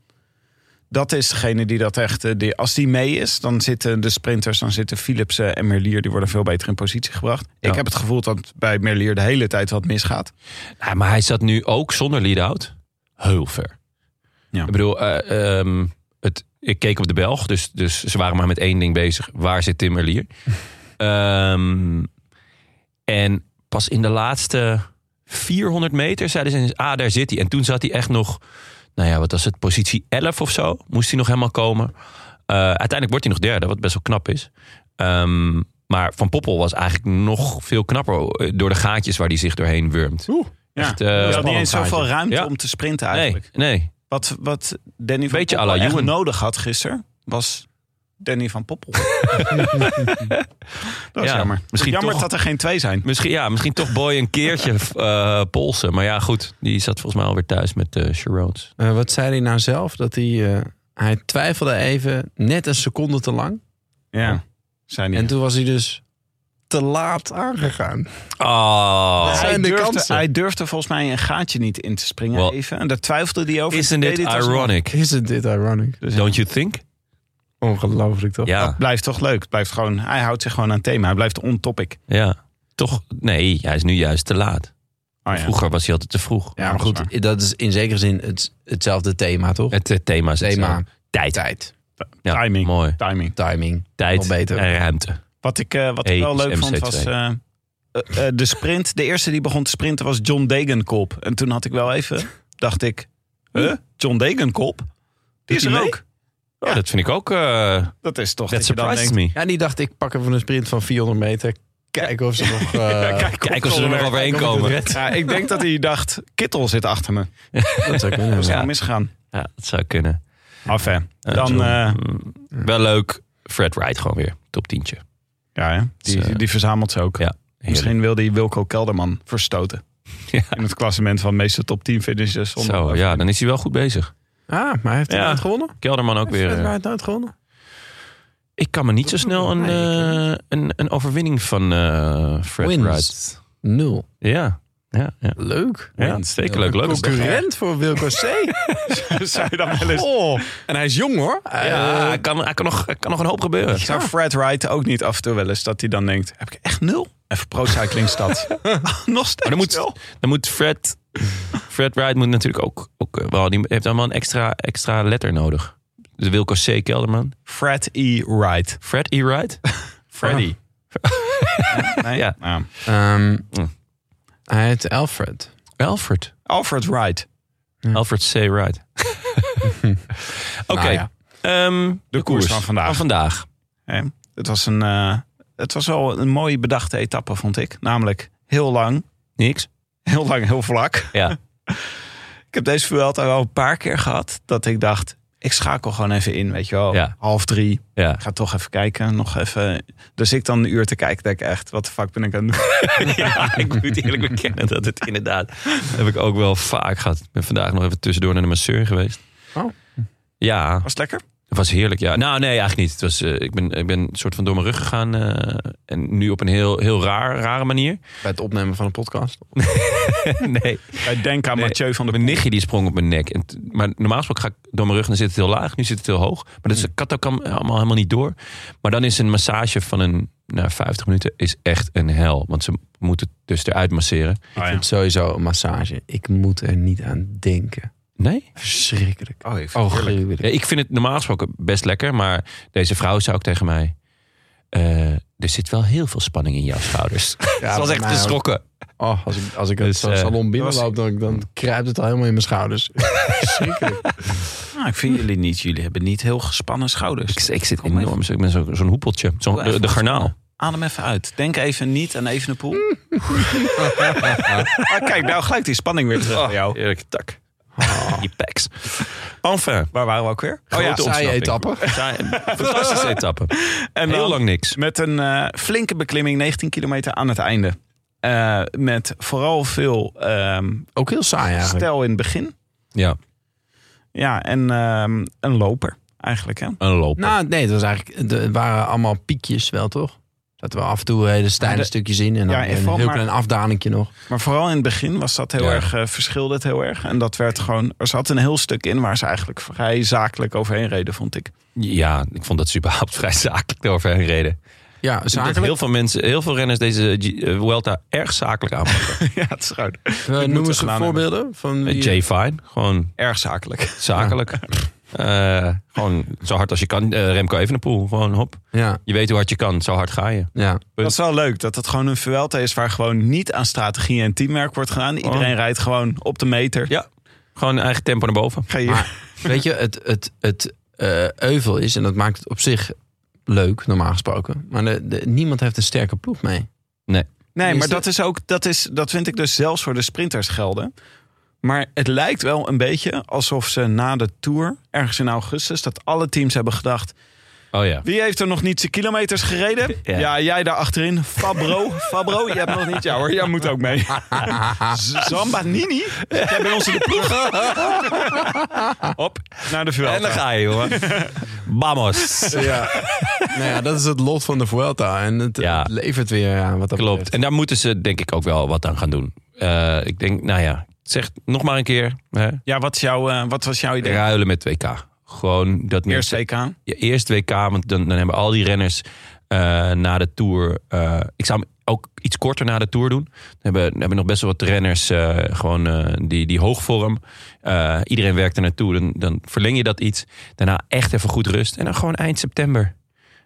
C: Dat is degene die dat echt, eh, die, als die mee is, dan zitten de sprinters, dan zitten Philipsen en Merlier, die worden veel beter in positie gebracht.
D: Ja.
C: Ik heb het gevoel dat bij Merlier de hele tijd wat misgaat.
D: Ja, maar hij zat nu ook zonder lead-out heel ver.
C: Ja.
D: Ik bedoel, eh, ehm, het, ik keek op de Belg, dus, dus ze waren maar met één ding bezig. Waar zit Tim Merlier? Ehm, en pas in de laatste 400 meter zeiden ze, ah, daar zit hij. En toen zat hij echt nog, nou ja, wat was het, positie 11 of zo? Moest hij nog helemaal komen. Eh, uiteindelijk wordt hij nog derde, wat best wel knap is. Ehm, maar Van Poppel was eigenlijk nog veel knapper eh, door de gaatjes waar hij zich doorheen wurmt.
C: Ja.
D: Echt, eh,
C: je had niet
E: spannend
C: eens zoveel
E: gaatje.
C: ruimte
D: Ja.
C: om te sprinten
D: Nee,
C: eigenlijk.
D: nee.
C: Wat, wat Danny van
D: Beetje à la
C: Poppel echt
D: Ewan.
C: nodig had gisteren, was Danny van Poppel. dat is
D: Ja,
C: jammer.
D: misschien
C: jammer
D: toch-
C: dat er geen twee zijn.
D: Misschien, ja, misschien toch Boy een keertje eh polsen. Maar ja, goed. Die zat volgens mij alweer thuis met eh Sharones.
E: eh, wat zei hij nou zelf? Dat hij, eh, hij twijfelde even net een seconde te lang.
C: Ja, zijn die.
E: En toen was hij dus te laat aangegaan.
D: Oh.
E: zijn
C: hij,
E: de
C: durfde,
E: kansen.
C: hij durfde volgens mij een gaatje niet in te springen
D: Wel,
C: even. En daar twijfelde hij over.
D: Isn't it
C: Deed dit als Dus een-
D: ironic?
E: Isn't dit ironic?
D: Don't you think?
E: Ongelooflijk toch?
D: Ja,
C: Blijft toch leuk. Het Blijft gewoon, hij houdt zich gewoon aan het thema. Hij blijft on topic.
D: ja. Toch? Nee, hij is nu juist te laat.
C: Oh, ja.
D: Vroeger was hij altijd te vroeg.
E: Ja, maar goed, dat is in zekere zin het, hetzelfde thema, toch?
D: Het eh, thema is
E: Thema.
D: hetzelfde. Tijd.
E: Tijd,
D: Ja,
C: Timing.
D: Mooi.
C: Timing.
E: timing.
D: Tijd
E: Nog beter.
D: en ruimte.
C: Wat ik, eh, wat ik
D: E
C: wel
D: is
C: leuk vond
D: MC2.
C: was eh, eh, eh, de sprint. De eerste die begon te sprinten was John Degenkolb. En toen had ik wel even, dacht ik, huh? John Degenkolb? Die is
D: Hm? hij
C: er
D: mee?
C: ook.
D: Oh,
C: Ja.
D: dat vind ik ook... eh
C: Dat is toch
D: that
C: dat je dan
D: surprises
C: denkt,
D: me.
E: Ja, die dacht ik pak even een sprint van 400 meter. Kijken of ze nog... eh,
D: Kijk of ze er nog overheen komen.
C: Ja, ik denk dat hij dacht, Kittel zit achter me.
E: dat zou kunnen.
C: Dat is
E: ja.
D: Ja.
C: gewoon misgegaan.
D: Ja, dat zou kunnen.
C: Af hè.
D: Eh,
C: Dan,
D: John.
C: eh,
D: Mm, Wel leuk. Fred Wright gewoon weer. Top tientje.
C: ja, hè.
D: Dus,
C: Die,
D: eh,
C: die verzamelt ze ook.
D: ja. Heerlijk.
C: Misschien wil die Wilco Kelderman verstoten.
D: Ja.
C: In het klassement van de meeste top 10 finishes.
D: Zo, ja, dan is hij wel goed bezig.
E: Ah, maar hij heeft
D: Ja.
E: het gewonnen.
D: Kelderman ook weer.
E: Fred
D: eh,
E: Wright nooit gewonnen.
D: ik kan me niet zo snel een,
E: Nee, ik
D: eh, een, een overwinning van eh Fred
E: Wins.
D: Wright.
E: Nul.
D: Ja, ja, ja.
E: Leuk.
D: ja Zeker leuk. leuk.
E: Concurrent voor Wilco C.
C: Zou je dan wel eens...
E: Oh, en hij is jong hoor.
D: Ja, hij kan, hij kan, nog, hij kan nog een hoop gebeuren.
C: Zou Fred Wright ook niet af en toe wel eens dat hij dan denkt... heb ik echt nul? Even pro-cyclingstad. Nog steeds
D: Maar dan
C: nul.
D: moet, dan moet Fred... Fred Wright moet natuurlijk ook... ook eh, wel, die heeft dan wel een extra, extra letter nodig. De Wilco C. Kelderman.
C: Fred E. Wright.
D: Fred E. Wright?
C: Freddy. nee?
D: Ja.
C: Nou,
E: Ehm,
D: Hm.
E: hij heet Alfred.
D: Alfred.
C: Alfred Wright.
D: Alfred C. Wright. Oké.
E: Nou ja.
D: ehm, de,
C: koers van vandaag.
D: Van vandaag.
C: Hè? Het, was een, eh, het was wel een mooie bedachte etappe, vond ik. Namelijk heel lang,
D: Niks.
C: heel lang, heel vlak.
D: Ja.
C: Ik heb deze Vuelta wel een paar keer gehad dat ik dacht... ik schakel gewoon even in, weet je wel.
D: Ja.
C: Half drie,
D: Ja.
C: Ik ga toch even kijken, nog even. Dus ik dan een uur te kijken, denk ik echt, wat de fuck ben ik aan het doen?
D: ja, ik moet eerlijk bekennen dat het inderdaad... heb ik ook wel vaak gehad. Ik ben vandaag nog even tussendoor naar de masseur geweest.
E: Oh.
D: Ja,
C: Was het lekker?
D: Het was heerlijk, ja. Nou, nee, eigenlijk niet. Het was, eh, ik, ben, ik ben een soort van door mijn rug gegaan. eh, en nu op een heel, heel raar, rare manier.
E: Bij het opnemen van een podcast.
D: nee.
C: Wij denken aan
D: Nee,
C: Mathieu van der
D: Mijn nichtje die sprong op mijn nek. En t- maar normaal gesproken ga ik door mijn rug en dan zit het heel laag. Nu zit het heel hoog. Maar dat is, ik had ook allemaal helemaal niet door. Maar dan is een massage van een nou, 50 minuten is echt een hel. Want ze moeten het dus eruit masseren.
C: Oh, ja.
E: Sowieso een massage. Ik moet er niet aan denken.
D: Nee?
E: Verschrikkelijk.
C: Oh, even.
E: Oh, gruwelijk.
D: Ja, ik vind het normaal gesproken best lekker. Maar deze vrouw zei ook tegen mij... eh, er zit wel heel veel spanning in jouw schouders.
E: Ja,
D: Ze was
E: bij
D: echt
E: mij ook.
D: geschrokken.
E: Oh, als ik, als ik uit
D: Dus,
E: zo'n
D: eh,
E: salon binnenloop,
C: was-
E: dan, dan kruipt het al helemaal in mijn schouders.
C: Nou, ik vind jullie niet. Jullie hebben niet heel gespannen schouders.
D: Ik, ik zit
C: maar
D: enorm. Ik ben zo- zo'n hoepeltje. Zo'n, de, de garnaal.
C: Adem even uit. Denk even niet aan even een poel. ah, kijk, nou gelijk die spanning weer
D: Ah,
C: terug bij jou.
D: Eerlijk, tak. Je packs. Ah. Oh Enfin.
C: Waar waren we ook weer?
D: Grote
E: ja, saaie
D: ontsnapping. Saaie- Fantastische etappe. En heel
C: dan-
D: lang niks.
C: Met een eh, flinke beklimming, 19 kilometer aan het einde. Eh, met vooral veel ehm
E: Ook heel saai eigenlijk.
C: stel in het begin.
D: Ja,
C: Ja, en ehm, een loper eigenlijk. Hè?
D: een loop.
E: Nou, nee, het, was eigenlijk, het waren allemaal piekjes wel, toch? Dat we af en toe hele steile
C: Ja, de-
E: stukjes in en dan
C: Ja,
E: weer
C: en
E: een
C: vooral
E: heel
C: maar-
E: klein afdalingje nog.
C: Maar vooral in het begin was dat heel
D: Ja.
C: erg, eh, verschilde het heel erg. En dat werd gewoon, er zat een heel stuk in waar ze eigenlijk vrij zakelijk overheen reden, vond ik.
D: Ja, ik vond dat ze überhaupt vrij zakelijk overheen reden.
E: Ja,
D: Ik denk dat
E: zakelijk.
D: heel veel mensen, heel veel renners deze G- eh, Vuelta erg zakelijk aanpakken.
C: ja, het is gewoon
E: Eh,
C: moeten
E: noem
C: we
E: eens
C: gedaan
E: voorbeelden van wie-
D: Jay Fine, gewoon
C: erg zakelijk.
D: zakelijk. Eh, gewoon zo hard als je kan. Eh, Remco Evenepoel, gewoon hop.
E: Ja,
D: Je weet hoe hard je kan, zo hard ga je.
E: ja.
C: Dat is wel leuk, dat het gewoon een Vuelta is waar gewoon niet aan strategie en teamwerk wordt gedaan. Iedereen rijdt gewoon op de meter.
D: Ja, gewoon eigen tempo naar boven.
C: Ga je
E: Maar- Weet je, het, het, het eh, euvel is, en dat maakt het op zich leuk, normaal gesproken. Maar de, de- niemand heeft een sterke ploeg mee.
C: Nee,
E: Is
C: maar
E: de-
C: dat is ook, dat, is, dat vind ik dus zelfs voor de sprinters gelden. Maar het lijkt wel een beetje alsof ze na de Tour, ergens in augustus, dat alle teams hebben gedacht...
D: Oh ja.
C: Wie heeft er nog niet zijn kilometers gereden?
D: Ja.
C: Ja, jij daar achterin. Fabro, Fabro, je hebt nog niet. Ja hoor, jij moet ook mee. Z- Zamba Nini, jij bent onze de ploeg. Op, naar de Vuelta.
D: En dan ga je, jongen. Vamos.
E: Ja. nou ja, dat is het lot van de Vuelta. En het,
D: Ja.
E: het levert weer aan wat dat
D: Klopt.
E: betreft.
D: En daar moeten ze denk ik ook wel wat aan gaan doen. Eh, ik denk, nou ja, zeg nog maar een keer. Hè?
C: Ja, wat, is jouw, eh, wat was jouw idee?
D: Ruilen met WK. Gewoon dat
C: Eerst
D: mensen-
C: WK. aan.
D: Ja, eerst WK, want dan, dan hebben al die renners eh, na de Tour... eh, ik zou hem ook iets korter na de Tour doen. Dan hebben, dan hebben nog best wel wat renners eh, gewoon eh, die, die hoogvorm. Eh, iedereen werkt er naartoe, dan, dan verleng je dat iets. Daarna echt even goed rust. En dan gewoon eind september.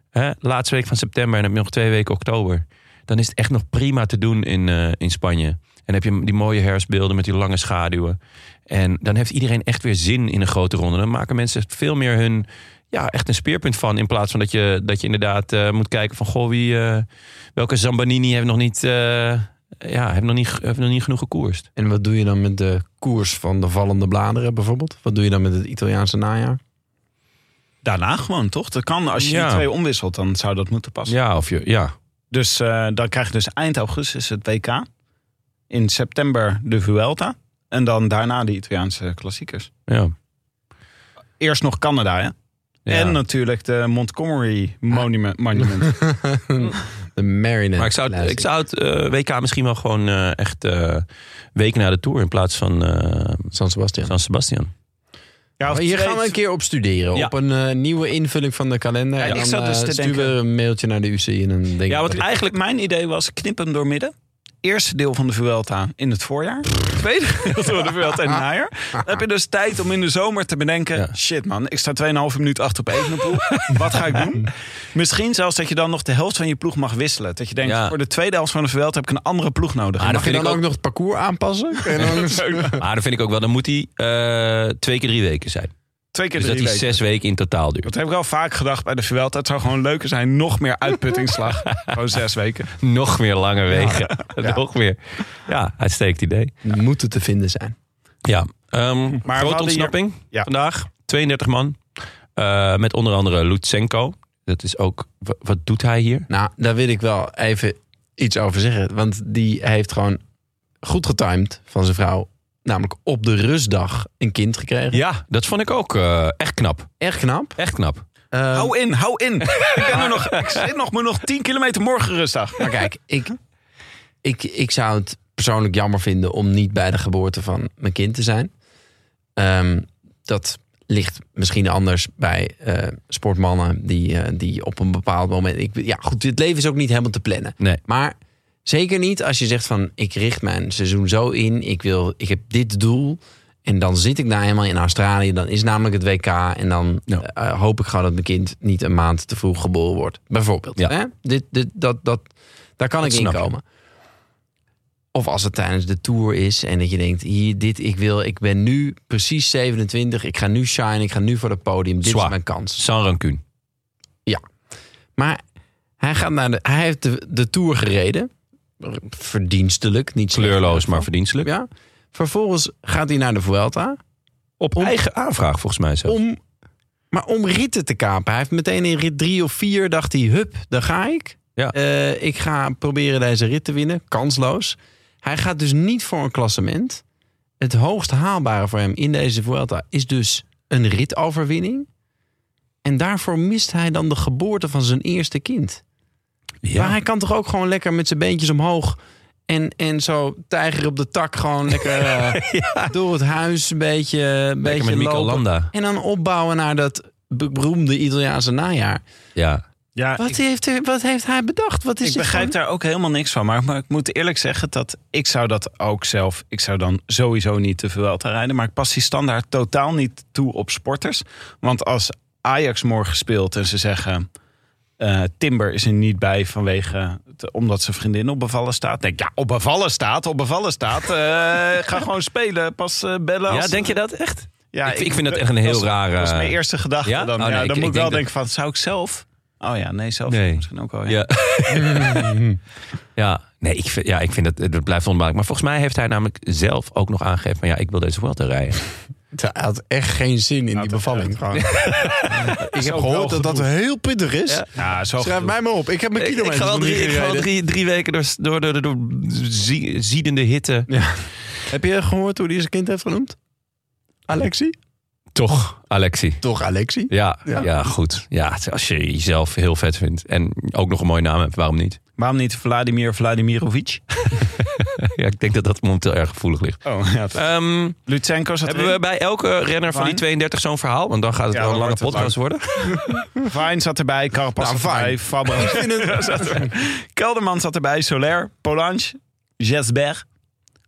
D: Hè? Laatste week van september en dan heb je nog twee weken oktober. Dan is het echt nog prima te doen in, eh, in Spanje. En dan heb je die mooie herfstbeelden met die lange schaduwen. En dan heeft iedereen echt weer zin in een grote ronde. Dan maken mensen veel meer hun, ja, echt een speerpunt van. In plaats van dat je, dat je inderdaad eh, moet kijken van, goh, wie, eh, welke Zambanini heeft nog niet, eh, ja, heeft nog niet, heeft nog niet genoeg gekoerst.
E: En wat doe je dan met de koers van de vallende bladeren bijvoorbeeld? Wat doe je dan met het Italiaanse najaar?
C: Daarna gewoon, toch? Dat kan, als je
D: Ja.
C: die twee omwisselt, dan zou dat moeten passen.
D: Ja, of je, ja.
C: Dus eh, dan krijg je dus eind augustus het WK. In september de Vuelta. En dan daarna de Italiaanse klassiekers.
D: ja.
C: Eerst nog Canada, hè?
D: Ja.
C: En natuurlijk de Montgomery Monument. monument.
E: dat De Marinette.
D: Maar ik zou, het-
E: Classic.
D: ik zou het eh, WK misschien wel gewoon eh, echt eh weken na de Tour in plaats van eh,
E: San Sebastian.
D: San Sebastian.
C: Ja,
E: Maar Hier gaan we een keer op studeren.
D: Ja.
E: Op een eh, nieuwe invulling van de kalender.
C: Ja,
E: en
C: ik
E: dan
C: zat dus
E: eh,
C: te
E: sturen we
C: denken-
E: een mailtje naar de UCI. En dan denk ik
D: Ja, want
E: dat-
D: eigenlijk...
C: Mijn idee was, knip hem door midden. Eerste deel van de Vuelta in het voorjaar. Tweede deel van de Vuelta in het najaar. Dan heb je dus tijd om in de zomer te bedenken... shit man, ik sta 2,5 minuut achter op Evenepoel. Wat ga ik doen? Misschien zelfs dat je dan nog de helft van je ploeg mag wisselen. Dat je denkt,
D: Ja.
C: voor de tweede helft van de Vuelta heb ik een andere ploeg nodig.
E: Mag
D: dat
E: je
D: vind
E: dan
D: ik
E: ook...
D: ook-
E: nog het parcours aanpassen? En dan-
D: Maar dan vind ik ook wel, dan moet hij eh, twee keer drie weken zijn.
C: Twee keer
D: Dus dat
C: drie
D: hij
C: weken.
D: zes weken in totaal duurt.
C: Dat heb ik al vaak gedacht bij de Vuelta. Het zou gewoon leuker zijn, nog meer uitputtingsslag. gewoon zes weken.
D: Nog meer lange wegen. Nog meer. Ja, uitstekend idee.
E: Moet het te vinden zijn.
D: Ja. ehm
C: we
D: grote
C: hadden
D: ontsnapping
C: ja.
D: vandaag. 32 man. Eh, met onder andere Lutsenko. Dat is ook... wa- Wat doet hij hier?
E: Nou, daar wil ik wel even iets over zeggen. Want die heeft gewoon goed getimed van zijn vrouw. Namelijk op de rustdag een kind gekregen.
D: Ja, dat vond ik ook eh, echt knap.
E: Erg knap.
D: Echt knap.
E: Eh,
C: Hou in, hou in. Ik, ben er nog, ik zit nog, moet nog 10 kilometer morgen rustdag.
E: Maar kijk, ik, ik, ik zou het persoonlijk jammer vinden om niet bij de geboorte van mijn kind te zijn. Ehm, dat ligt misschien anders bij eh, sportmannen die, eh, die op een bepaald moment. Ik, ja, goed, het leven is ook niet helemaal te plannen.
D: Nee.
E: Maar zeker niet als je zegt van ik richt mijn seizoen zo in, ik, wil, ik heb dit doel. En dan zit ik daar helemaal in Australië. Dan is namelijk het WK. En dan
D: Ja.
E: eh, hoop ik gewoon dat mijn kind niet een maand te vroeg geboren wordt. Bijvoorbeeld.
D: Ja.
E: Hè? Dit, dit, dat, dat, daar kan ik in
D: snap je.
E: komen. Of als het tijdens de tour is en dat je denkt: hier, dit, ik wil, ik ben nu precies 27, ik ga nu shine, ik ga nu voor het podium, dit
D: Zwaar.
E: is mijn kans.
D: San Rancune.
E: Maar hij, gaat naar de, hij heeft de, de tour gereden, verdienstelijk, niet slecht.
D: Kleurloos, maar verdienstelijk.
E: Ja. Vervolgens gaat hij naar de Vuelta.
D: Op eigen aanvraag volgens mij zo.
E: om, maar om ritten te kapen. Hij heeft meteen in rit drie of vier dacht hij, hup, daar ga ik.
D: Ja.
E: Eh, ik ga proberen deze rit te winnen. Kansloos. Hij gaat dus niet voor een klassement. Het hoogst haalbare voor hem in deze Vuelta is dus een ritoverwinning. En daarvoor mist hij dan de geboorte van zijn eerste kind. Maar hij kan toch ook gewoon lekker met zijn beentjes omhoog... En, en zo tijger op de tak gewoon lekker eh, door het huis een beetje, een
D: Lekker
E: beetje
D: met Mikel
E: lopen.
D: Landa.
E: En dan opbouwen naar dat be- beroemde Italiaanse najaar.
D: Ja.
C: Ja,
E: Wat, heeft, hij- wat heeft hij bedacht? Wat is
C: ik
E: dit
C: begrijp daar ook helemaal niks van. Maar, maar ik moet eerlijk zeggen dat ik zou dat ook zelf... Ik zou dan sowieso niet te veel te rijden. Maar ik pas die standaard totaal niet toe op sporters. Want als Ajax morgen speelt en ze zeggen... eh, Timber is er niet bij vanwege... het- omdat zijn vriendin op bevallen staat. Denk ik, ja, op bevallen staat, op bevallen staat. Eh, ga gewoon spelen, pas eh, bellen.
D: ja,
C: als-
D: denk je dat echt?
C: Ja,
D: Ik- ik vind dat echt een heel
C: was-
D: rare-
C: Dat is mijn eerste gedachte.
D: Ja?
C: Dan,
D: Oh, nee,
C: ja,
D: ik-
C: dan
D: ik
C: moet ik wel
D: denk
C: denken van, zou ik zelf... Oh ja, nee, zelf
D: Nee.
C: misschien ook wel. Ja.
D: Ja. ja. Nee, ik vind, ja, ik vind dat, dat blijft onmaak. Maar volgens mij heeft hij namelijk zelf ook nog aangegeven van ja, ik wil deze Vuelta rijden.
E: Hij had echt geen zin in die bevalling. ik heb gehoord dat dat heel pittig is.
C: Ja, zo
E: Schrijf mij maar op. Ik heb mijn
D: Ik, ik
E: kilometers
D: ga wel
E: nog niet
D: drie, ik ga wel
E: gereden.
D: drie, drie weken door, door, door, door, zie- ziedende hitte.
E: Heb je gehoord hoe hij zijn kind heeft genoemd? Alexi?
D: Toch, Alexi.
E: Toch Alexi?
D: Ja, ja. goed. Ja, als je jezelf heel vet vindt en ook nog een mooie naam hebt, waarom niet?
C: Waarom niet Vladimir Vladimirovic?
D: Ja, ik denk dat dat momenteel erg gevoelig ligt.
C: Oh, ja.
D: Ehm,
C: Lutsenko zat
D: hebben we bij elke renner van die
C: Fijn.
D: 32 zo'n verhaal? Want dan gaat het
C: Ja,
D: wel een
C: dan
D: lange podcast
C: wordt het
D: worden.
C: erbij. Vine zat erbij. Carapaz
E: Nou,
C: zat erbij. Fabra zat erbij. Kelderman zat erbij. Soler. Polange. Jesber.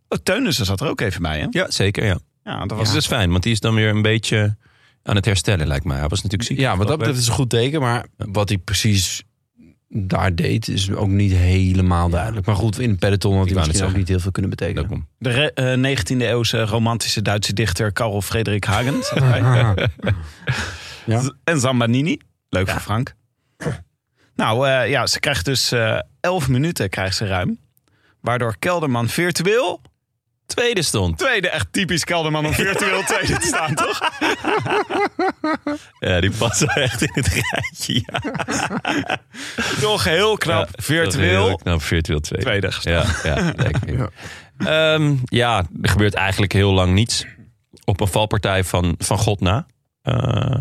C: Oh, Teunissen zat er ook even bij, hè?
D: Ja, zeker. Ja.
C: Ja, dat
D: Dat is dus fijn, want die is dan weer een beetje aan het herstellen, lijkt mij. Hij was natuurlijk ziek.
E: Ja, wat dat betreft is een goed teken. Maar wat hij precies daar deed is ook niet helemaal duidelijk. Maar goed, in het peloton had
D: Ik
E: hij
D: wou net
E: misschien ook
D: zeggen.
E: niet heel veel kunnen betekenen.
D: Leuk om.
C: De re- eh, 19e eeuwse romantische Duitse dichter Karel Frederik Hagen zat erbij.
E: Ja.
C: Z- En Zambanini. Leuk voor Frank. Nou eh, ja, ze krijgt dus eh 11 minuten krijgt ze ruim. Waardoor Kelderman virtueel
D: Tweede stond.
C: tweede, echt typisch Kelderman om virtueel tweede te staan, toch?
D: Ja, die past wel echt in het rijtje. Ja.
C: Toch heel knap, virtueel.
D: Nou, virtueel tweede.
C: Tweede. gestaan.
D: Ja, ja, denk ik. Ehm, ja, er gebeurt eigenlijk heel lang niets. Op een valpartij van, van God na. Eh, hij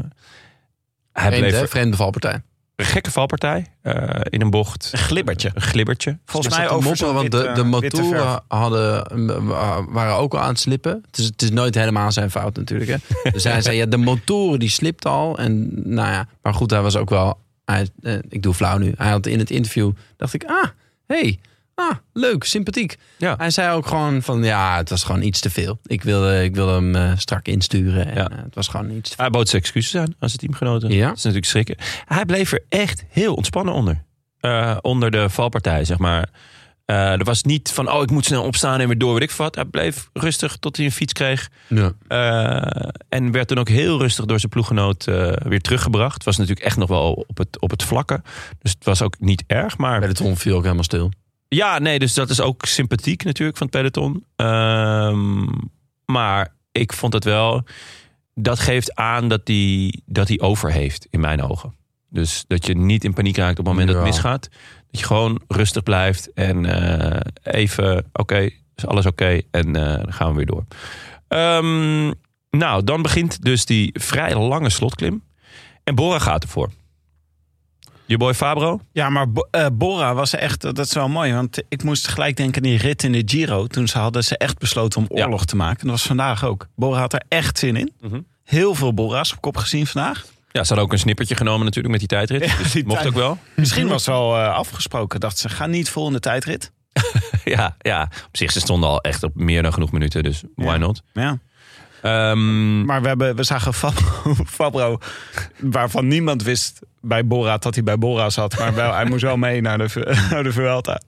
E: Vreemd,
D: bleef
E: hè?
D: er-
E: Vreemde valpartij.
D: Een gekke valpartij eh, in een bocht.
C: Een glibbertje.
D: Een glibbertje.
C: Volgens mij
E: Is dat te
C: over
E: mopperen,
C: zo'n
E: want de, de
C: witte- witte verf.
E: motoren hadden, eh, waren ook al aan het slippen. Het is, het is nooit helemaal zijn fout natuurlijk. Hè. Dus hij zei, ja, de motoren die slipten al. En, nou ja, maar goed, hij was ook wel... Hij, eh, ik doe flauw nu. Hij had in het interview, dacht ik, ah, hey, ah, leuk, sympathiek.
D: Ja.
E: Hij zei ook gewoon van, ja, het was gewoon iets te veel. Ik wilde, ik wilde hem eh, strak insturen. En,
D: Ja.
E: eh, het was gewoon iets te
D: Hij bood zijn excuses aan aan zijn teamgenoten.
E: Ja.
D: Dat is natuurlijk schrikken. Hij bleef er echt heel ontspannen onder. Eh, onder de valpartij, zeg maar. Eh, er was niet van, oh, ik moet snel opstaan en weer door, weet ik veel wat. Hij bleef rustig tot hij een fiets kreeg.
E: Ja.
D: Eh, en werd toen ook heel rustig door zijn ploeggenoot eh, weer teruggebracht. Het was natuurlijk echt nog wel op het, op het vlakke. Dus het was ook niet erg. Maar
E: Bij de trom viel ook helemaal stil.
D: ja, nee, dus dat is ook sympathiek natuurlijk van het peloton. Ehm, maar ik vond het wel... Dat geeft aan dat hij dat die over heeft, in mijn ogen. Dus dat je niet in paniek raakt op het moment dat het
E: Ja.
D: misgaat. Dat je gewoon rustig blijft en eh, even... Oké, is alles oké? en eh, dan gaan we weer door. Ehm, nou, dan begint dus die vrij lange slotklim. En Bora gaat ervoor. Je boy Fabro?
C: Ja, maar Bo- eh, Bora was echt, dat is wel mooi. Want ik moest gelijk denken aan die rit in de Giro. Toen ze hadden ze echt besloten om
D: Ja.
C: oorlog te maken. En dat was vandaag ook. Bora had er echt zin in.
D: Mhm.
C: Heel veel Bora's op kop gezien vandaag.
D: Ja, ze hadden ook een snippertje genomen natuurlijk met die tijdrit.
C: Ja,
D: dus
C: die
D: mocht
C: tijd-
D: ook wel.
C: Misschien was het wel eh, afgesproken. Dacht ze, ga niet vol in de tijdrit.
D: ja, ja, op zich, ze stonden al echt op meer dan genoeg minuten. Dus why
C: Ja.
D: not?
C: Ja.
D: Ehm,
C: Maar we, hebben, we zagen Fabro, Fabro, waarvan niemand wist bij Bora dat hij bij Bora zat. Maar wel, hij moest wel mee naar de, Vu- naar de Vuelta.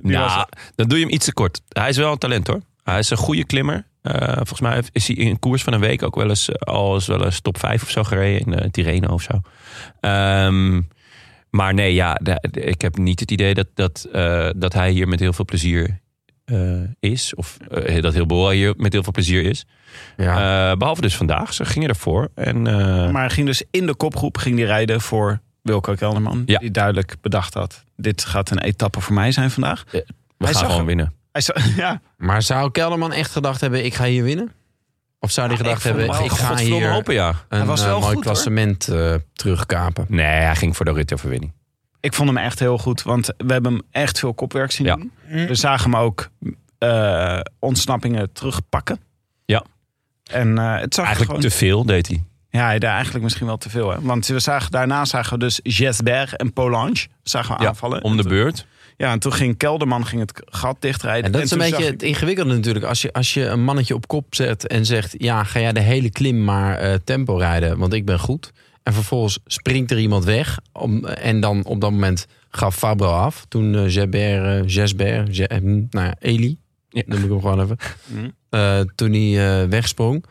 C: Die
D: nou,
C: was-
D: dan doe je hem iets te kort. Hij is wel een talent hoor. Hij is een goede klimmer. Eh, volgens mij heeft- is hij in een koers van een week ook wel eens, eh, al eens, wel eens top 5 of zo gereden. In eh, Tirreno of zo. Ehm, maar nee, ja, de- de- ik heb niet het idee dat, dat, eh, dat hij hier met heel veel plezier eh, is. Of eh, dat heel Bora hier met heel veel plezier is.
E: Ja.
D: Eh, behalve dus vandaag. Ze gingen ervoor. En, eh,
C: Maar hij ging dus in de kopgroep ging die rijden voor Wilco Kelderman.
D: Ja.
C: Die duidelijk bedacht had, dit gaat een etappe voor mij zijn vandaag.
D: we
C: hij
D: gaan
C: zag
D: gewoon
C: hem.
D: winnen.
C: Hij zo, ja,
E: Maar zou Kelderman echt gedacht hebben, ik ga hier winnen? Of zou hij
C: Ja,
E: gedacht
C: ik vond
E: hebben,
C: hem
E: ik
C: wel
E: ga
D: Godverdomme
E: hier
D: hopen, ja.
E: een
C: was
E: eh,
C: wel
E: mooi
C: goed, hoor.
E: klassement eh, terugkapen?
D: Nee, hij ging voor de ritoverwinning.
C: ik vond hem echt heel goed, want we hebben hem echt veel kopwerk zien
D: Ja.
C: doen. We zagen hem ook eh, ontsnappingen terugpakken.
D: Ja.
C: En eh, het zag er
D: Eigenlijk
C: gewoon...
D: te veel deed hij.
C: Ja, hij deed eigenlijk misschien wel te veel. Hè? Want we zagen, daarna zagen we dus Jesberg en Polange zagen we
D: Ja,
C: aanvallen.
D: om de beurt.
C: Ja, en toen ging Kelderman ging het gat dichtrijden.
E: En dat is een
C: toen
E: beetje
C: zag
E: het ingewikkelde natuurlijk. Als je, als je een mannetje op kop zet en zegt... ja, ga jij de hele klim maar eh, tempo rijden, want ik ben goed. En vervolgens springt er iemand weg. Om, en dan op dat moment gaf Fabro af. Toen eh Jesper, eh, Jesper, Je- eh, nou ja, Eli,
D: Ja.
E: noem ik hem gewoon even.
C: Mhm.
E: Eh, toen hij eh, wegsprong.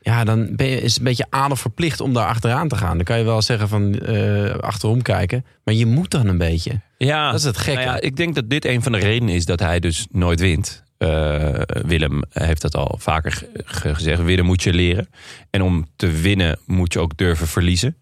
E: Ja, dan ben je, is het een beetje adel verplicht om daar achteraan te gaan. Dan kan je wel zeggen van eh, achterom kijken. Maar je moet dan een beetje.
D: Ja,
E: Dat is het gekke.
D: nou ja, ik denk dat dit een van de redenen is dat hij dus nooit wint. Eh, Willem heeft dat al vaker ge- ge- gezegd. Winnen moet je leren. En om te winnen moet je ook durven verliezen.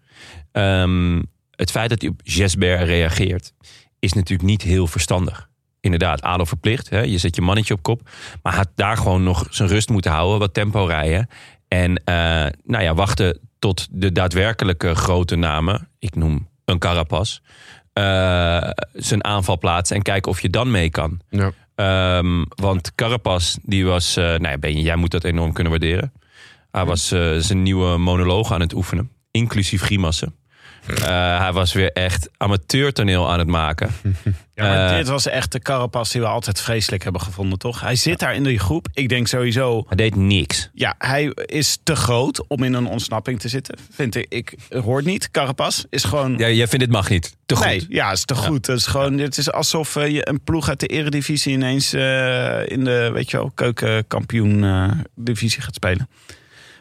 D: Ehm, het feit dat hij op Jesper reageert is natuurlijk niet heel verstandig. Inderdaad, adel verplicht. Hè? Je zet je mannetje op kop. Maar hij had daar gewoon nog zijn rust moeten houden. Wat tempo rijden. En eh, nou ja, wachten tot de daadwerkelijke grote namen. Ik noem een Carapas. eh, zijn aanval plaatsen. En kijken of je dan mee kan.
E: Ja.
D: Ehm, want Carapas, die was... eh nou ja, ben jij moet dat enorm kunnen waarderen. Hij was eh, zijn nieuwe monoloog aan het oefenen. Inclusief grimassen. Eh, hij was weer echt amateurtoneel aan het maken.
C: Ja, maar
D: Eh,
C: dit was echt de carapas die we altijd vreselijk hebben gevonden, toch? Hij zit daar in die groep. Ik denk sowieso,
D: Hij deed niks.
C: ja, hij is te groot om in een ontsnapping te zitten. Vind ik, ik hoort niet. Carapas is gewoon...
D: Ja, jij vindt dit mag niet. Te goed.
C: Nee, ja, is te goed. Het is gewoon, het is alsof eh, je een ploeg uit de eredivisie ineens eh, in de, weet je wel, keukenkampioen eh, divisie gaat spelen.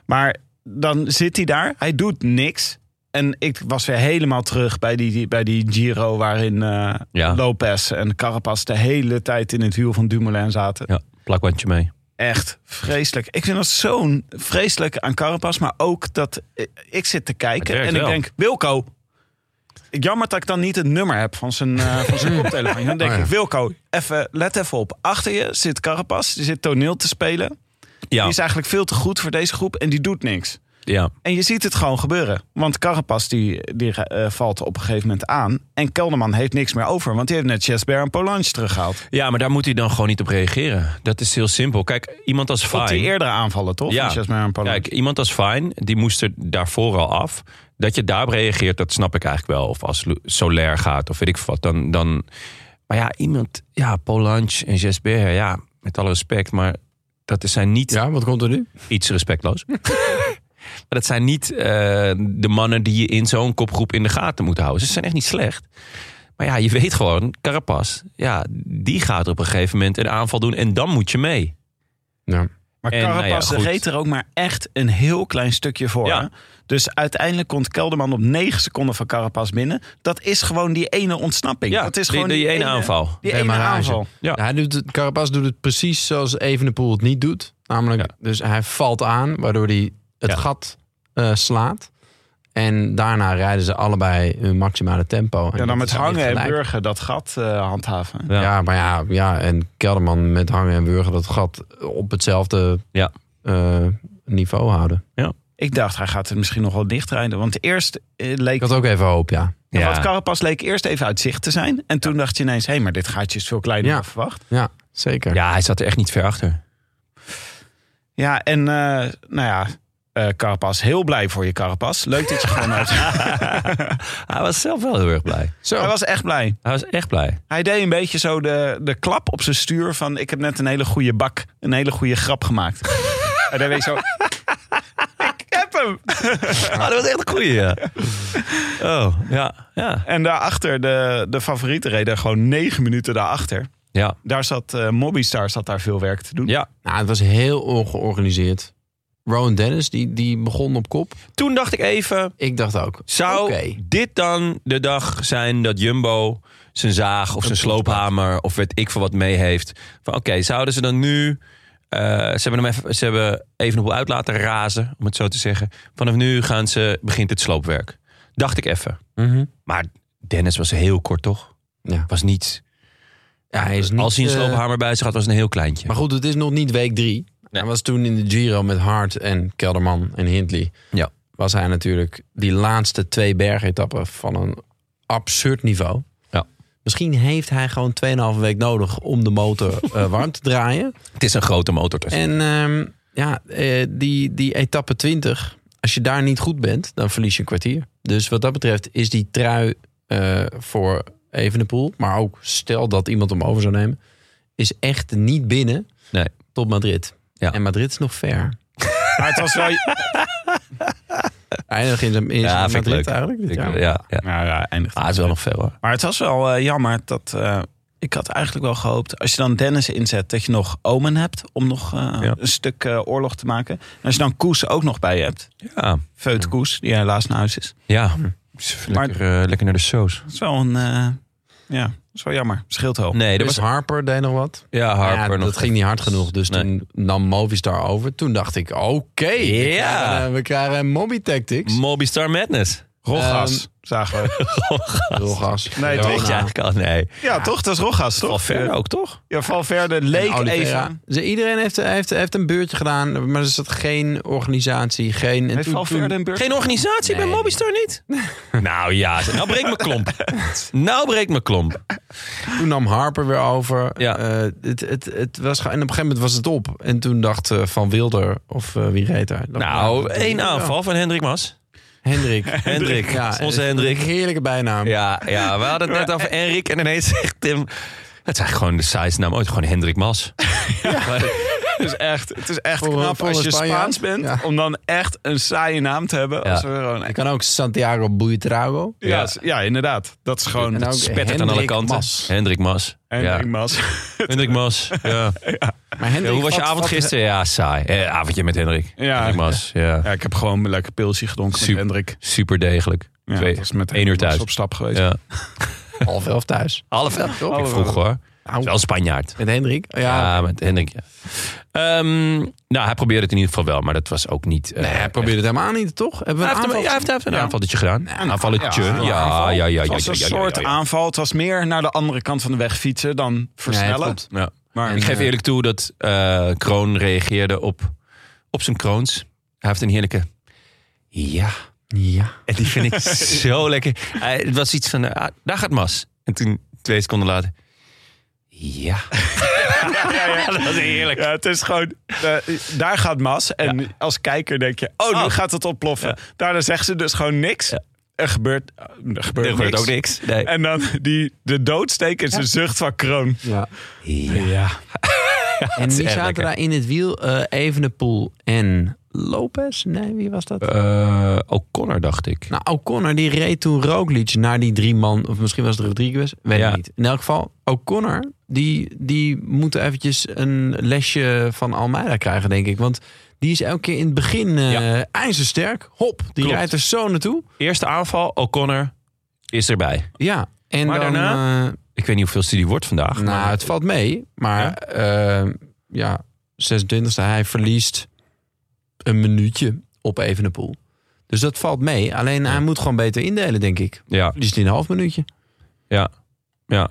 C: Maar dan zit hij daar, hij doet niks. En ik was weer helemaal terug bij die, die- bij die Giro waarin eh
D: Ja.
C: Lopez en Carapaz de hele tijd in het wiel van Dumoulin zaten.
D: Ja, plakwandje mee.
C: Echt vreselijk. Ik vind dat zo'n vreselijk aan Carapaz, maar ook dat eh, ik zit te kijken
D: werkt
C: en ik
D: wel.
C: denk, Wilco. Jammer dat ik dan niet het nummer heb van zijn, eh, van zijn koptelefoon. Dan denk
E: Oh ja.
C: ik, Wilco, even, let even op. Achter je zit Carapaz, die zit toneel te spelen.
D: Ja,
C: Die is eigenlijk veel te goed voor deze groep en die doet niks.
D: Ja.
C: En je ziet het gewoon gebeuren. Want Carapaz die, die eh, valt op een gegeven moment aan. En Kelderman heeft niks meer over. Want die heeft net Chesbert en Polansch teruggehaald.
D: ja, maar daar moet hij dan gewoon niet op reageren. Dat is heel simpel. Kijk, iemand als
C: Op die
D: Fine...
C: eerdere aanvallen, toch?
D: Ja.
C: Van Chesbert en Polansch.
D: Kijk, iemand als Fine, die moest er daarvoor al af. Dat je daarop reageert, dat snap ik eigenlijk wel. Of als Lu- Solaire gaat, of weet ik wat, dan... dan... Maar ja, iemand... Ja, Polansch en Jesper, ja, met alle respect, maar... Dat zijn niet
E: Ja, wat komt er nu?
D: iets respectloos. maar dat zijn niet eh, de mannen die je in zo'n kopgroep in de gaten moet houden. Ze zijn echt niet slecht. Maar ja, je weet gewoon, Carapaz, ja, die gaat op een gegeven moment een aanval doen en dan moet je mee.
E: Ja.
C: Maar
D: En, nou ja,
C: Carapaz
D: goed.
C: reed er ook maar echt een heel klein stukje voor.
D: Ja.
C: hè? Dus uiteindelijk komt Kelderman op 9 seconden van Carapaz binnen. Dat is gewoon die ene ontsnapping.
D: Ja,
C: dat is
D: die-
C: gewoon
D: die ene aanval.
E: Nee,
C: Die ene
E: maar rage.
C: aanval.
D: Ja.
E: Hij doet het, Carapaz doet het precies zoals Evenepoel het niet doet. Namelijk,
D: Ja.
E: dus hij valt aan, waardoor hij het
D: Ja.
E: gat eh, slaat. En daarna rijden ze allebei hun maximale tempo.
C: Ja, dan
E: dat
C: met
E: is niet
C: hangen en
E: gelijk.
C: burger dat gat eh, handhaven.
D: Ja.
E: Ja. maar ja, ja, en Kelderman met hangen en burger dat gat op hetzelfde
D: Ja.
E: eh, niveau houden.
C: Ik dacht, hij gaat het misschien nog wel dichtrijden. Want eerst eh, leek...
E: Ik had ook even hoop, ja.
C: Ja. Want
D: Ja.
C: Carapaz leek eerst even uit zicht te zijn. En toen dacht je ineens, hé, maar dit gaatje is veel kleiner
E: Ja.
C: dan verwacht.
E: Ja, zeker.
D: Ja, hij zat er echt niet ver achter.
C: Ja, en eh, nou ja, eh Carapaz, heel blij voor je Carapaz. Leuk dat je gewoon uit...
D: Hij was zelf wel heel erg blij.
E: Zo.
C: Hij was echt blij.
D: Hij was echt blij.
C: Hij deed een beetje zo de, de klap op zijn stuur van... ik heb net een hele goede bak, een hele goede grap gemaakt. en dan weet je zo... ik heb hem!
D: Ah, dat was echt een goeie, ja. Oh, ja, ja,
C: En daarachter, de, de favorieten reden gewoon negen minuten daarachter.
D: ja,
C: Daar zat eh Mobistar zat daar veel werk te doen.
D: ja.
E: Nou, het was heel ongeorganiseerd. Rowan Dennis, die, die begon op kop.
D: Toen dacht ik even,
E: Ik dacht ook.
D: Zou
E: Oké.
D: dit dan de dag zijn dat Jumbo zijn zaag of zijn sloophamer of weet ik veel wat mee heeft? Van oké, zouden ze dan nu. eh, ze hebben hem even, ze hebben even op uit laten razen, om het zo te zeggen. Vanaf nu gaan ze, begint het sloopwerk. Dacht ik even. Maar Dennis was heel kort, toch?
E: Ja.
D: Was niet.
E: Ja, hij is niet,
D: Als hij een
E: eh,
D: sloophamer bij zich had, was het een heel kleintje.
E: Maar goed, het is nog niet week drie. Hij was toen in de Giro met Hart en Kelderman en Hindley.
D: Ja.
E: Was hij natuurlijk die laatste twee bergetappen van een absurd niveau.
D: Ja.
E: Misschien heeft hij gewoon 2,5 week nodig om de motor eh, warm te draaien.
D: het is een grote motor. Dus.
E: En ehm, ja, eh, die, die etappe 20, als je daar niet goed bent, dan verlies je een kwartier. Dus wat dat betreft is die trui eh voor Evenepoel, maar ook stel dat iemand hem over zou nemen, is echt niet binnen
D: Nee.
E: tot Madrid.
D: Ja.
E: En Madrid is nog ver.
C: Maar het was wel...
E: Eindig in, in
D: Ja, vind ik
E: Madrid
D: leuk.
E: eigenlijk. dit
D: Ik- eh,
E: jaar.
D: ja, ja.
C: Nou ja, eindigt.
D: Ah, het is wel nog ver hoor.
C: Maar het was wel eh, jammer dat... eh, ik had eigenlijk wel gehoopt, als je dan Dennis inzet... dat je nog Omen hebt om nog eh,
D: Ja.
C: een stuk eh, oorlog te maken. En als je dan Koes ook nog bij je hebt.
D: Ja,
C: Veut Koes, die helaas naar huis is.
D: ja. Lekker, eh, lekker naar de soos.
C: Dat is wel een... eh, ja, dat is wel jammer. Scheelt wel.
D: Nee, dat
E: Dus
D: was
E: Harper deed nog wat.
D: Ja, Harper
E: Maar ja,
D: nog.
E: dat ging niet hard genoeg. Dus
D: Nee.
E: toen nam Movistar over. Toen dacht ik, oké. we
D: Ja.
E: krijgen, eh, We krijgen een Mobby Tactics.
D: Mobistar Madness.
C: Rogas,
E: Ehm,
C: zagen we.
E: Rogas.
C: Nee, het
E: Corona.
D: Weet je eigenlijk al? Nee.
C: Ja, toch? Dat is Rogas, toch?
D: Valverde ook, toch?
C: Ja, Valverde leek
E: Oliveira.
C: even...
E: Ze- Iedereen heeft, heeft, heeft een beurtje gedaan, maar er zat geen organisatie, geen... En
C: Heeft
E: toen-
C: Valverde
E: toen-
C: een beurt?
D: Geen organisatie bij
E: Nee.
D: Mobistar niet? nou ja, nou breekt mijn klomp. nou breekt mijn klomp.
E: Toen nam Harper weer over.
D: Ja.
E: Eh, het, het, het was, ge- en op een gegeven moment was het op. En toen dacht eh, Van Wilder, of eh, wie reed daar? Dat-
D: Nou,
E: dat-
D: één aanval van Hendrik Mas.
E: Hendrik.
D: Hendrik, onze
E: eh,
D: Hendrik.
E: Heerlijke bijnaam.
D: Ja, ja, we hadden het net over Henrik en ineens zegt Tim... Het is eigenlijk gewoon de saaiste naam ooit. Gewoon Hendrik Mas.
C: Het is echt, het is echt
E: Voor een-
C: knap
E: voor
C: als
E: een
C: je
E: Spanjaard.
C: Spaans bent.
E: Ja.
C: Om dan echt een saaie naam te hebben. Als
D: Ja.
C: er gewoon
E: Je kan ook Santiago Buitrago.
C: Ja, s- ja, inderdaad. Dat is gewoon
E: En ook
D: Spettert aan alle
E: Hendrik
D: kanten.
E: Mas.
D: Hendrik Mas.
C: Henry
D: Ja.
C: Mas.
D: Hendrik Mas. Ja.
E: Maar Hendrik,
D: Ja, hoe was je
E: vat-
D: avond
E: vat-
D: gisteren? Ja, saai. Eh, avondje met Hendrik.
C: Ja.
D: Hendrik Mas. Ja.
C: Ja, ik heb gewoon een lekker pilsje gedronken
D: Super.
C: met Hendrik.
D: Super degelijk.
C: Ja,
D: Twee-
C: dat was met
D: één
C: Hendrik
D: uur thuis.
C: was op stap geweest.
D: Ja.
E: Half elf thuis.
D: Half elf. Ik vroeg hoor.
E: Nou,
D: Wel Spanjaard.
E: met Hendrik. Ja,
D: Ja, met Hendrik. Ja. Ehm, nou, hij probeerde het in ieder geval wel, maar dat was ook niet. eh,
E: Nee, hij probeerde het helemaal niet, toch? Hebben
D: Hij
E: we een
D: heeft, hem-
E: aanval
D: ja, hij heeft, hij heeft een
C: Ja. nou,
D: aanvalletje gedaan. Een aanvalletje. Ja, ja, ja,
C: ja,
D: ja. ja,
C: Het
D: ja,
C: was een
D: ja, ja,
C: soort
D: ja, ja.
C: aanval. Het was meer naar de andere kant van de weg fietsen dan versnellen.
E: klopt.
D: Ja.
C: maar
D: Ik geef eerlijk toe dat eh, Kroon reageerde op, op zijn kroons. Hij heeft een heerlijke Ja.
E: Ja.
D: En die vind ik zo lekker. Hij- het was iets van, ah, daar gaat Mas. En toen, twee seconden later, ja. dat was heerlijk.
C: Ja, het is gewoon, eh, daar gaat Mas. En als kijker denk je, oh, nu
D: Oh.
C: gaat het ontploffen. Daarna zegt ze dus gewoon niks. Er gebeurt, er gebeurt,
D: Er gebeurt
C: niks.
D: ook niks. Nee.
C: En dan die, de doodsteek is een zucht van kroon.
E: ja.
C: Ja.
E: En wie
D: erg
E: zaten
D: lekker.
E: daar in het wiel? Eh, Evenepoel en Lopez? Nee, wie was dat?
D: Eh, O'Connor dacht ik.
E: Nou, O'Connor die reed toen Roglic naar die drie man. Of misschien was het Rodriguez. Weet
D: Ja.
E: ik niet. In elk geval, O'Connor die, die moet eventjes een lesje van Almeida krijgen, denk ik. Want die is elke keer in het begin eh, ijzersterk. Hop, die
D: Klopt.
E: rijdt er zo naartoe.
D: Eerste aanval, O'Connor is erbij.
E: Ja, en
D: Maar
E: dan...
D: daarna?
E: eh,
D: Ik weet niet hoeveel studie wordt vandaag.
E: nou, het valt mee. Maar ja, ja 26e, hij verliest een minuutje op Evenepoel. Dus dat valt mee. Alleen hij moet gewoon beter indelen, denk ik.
D: Ja,
E: Verliest hij een half minuutje.
D: ja, ja.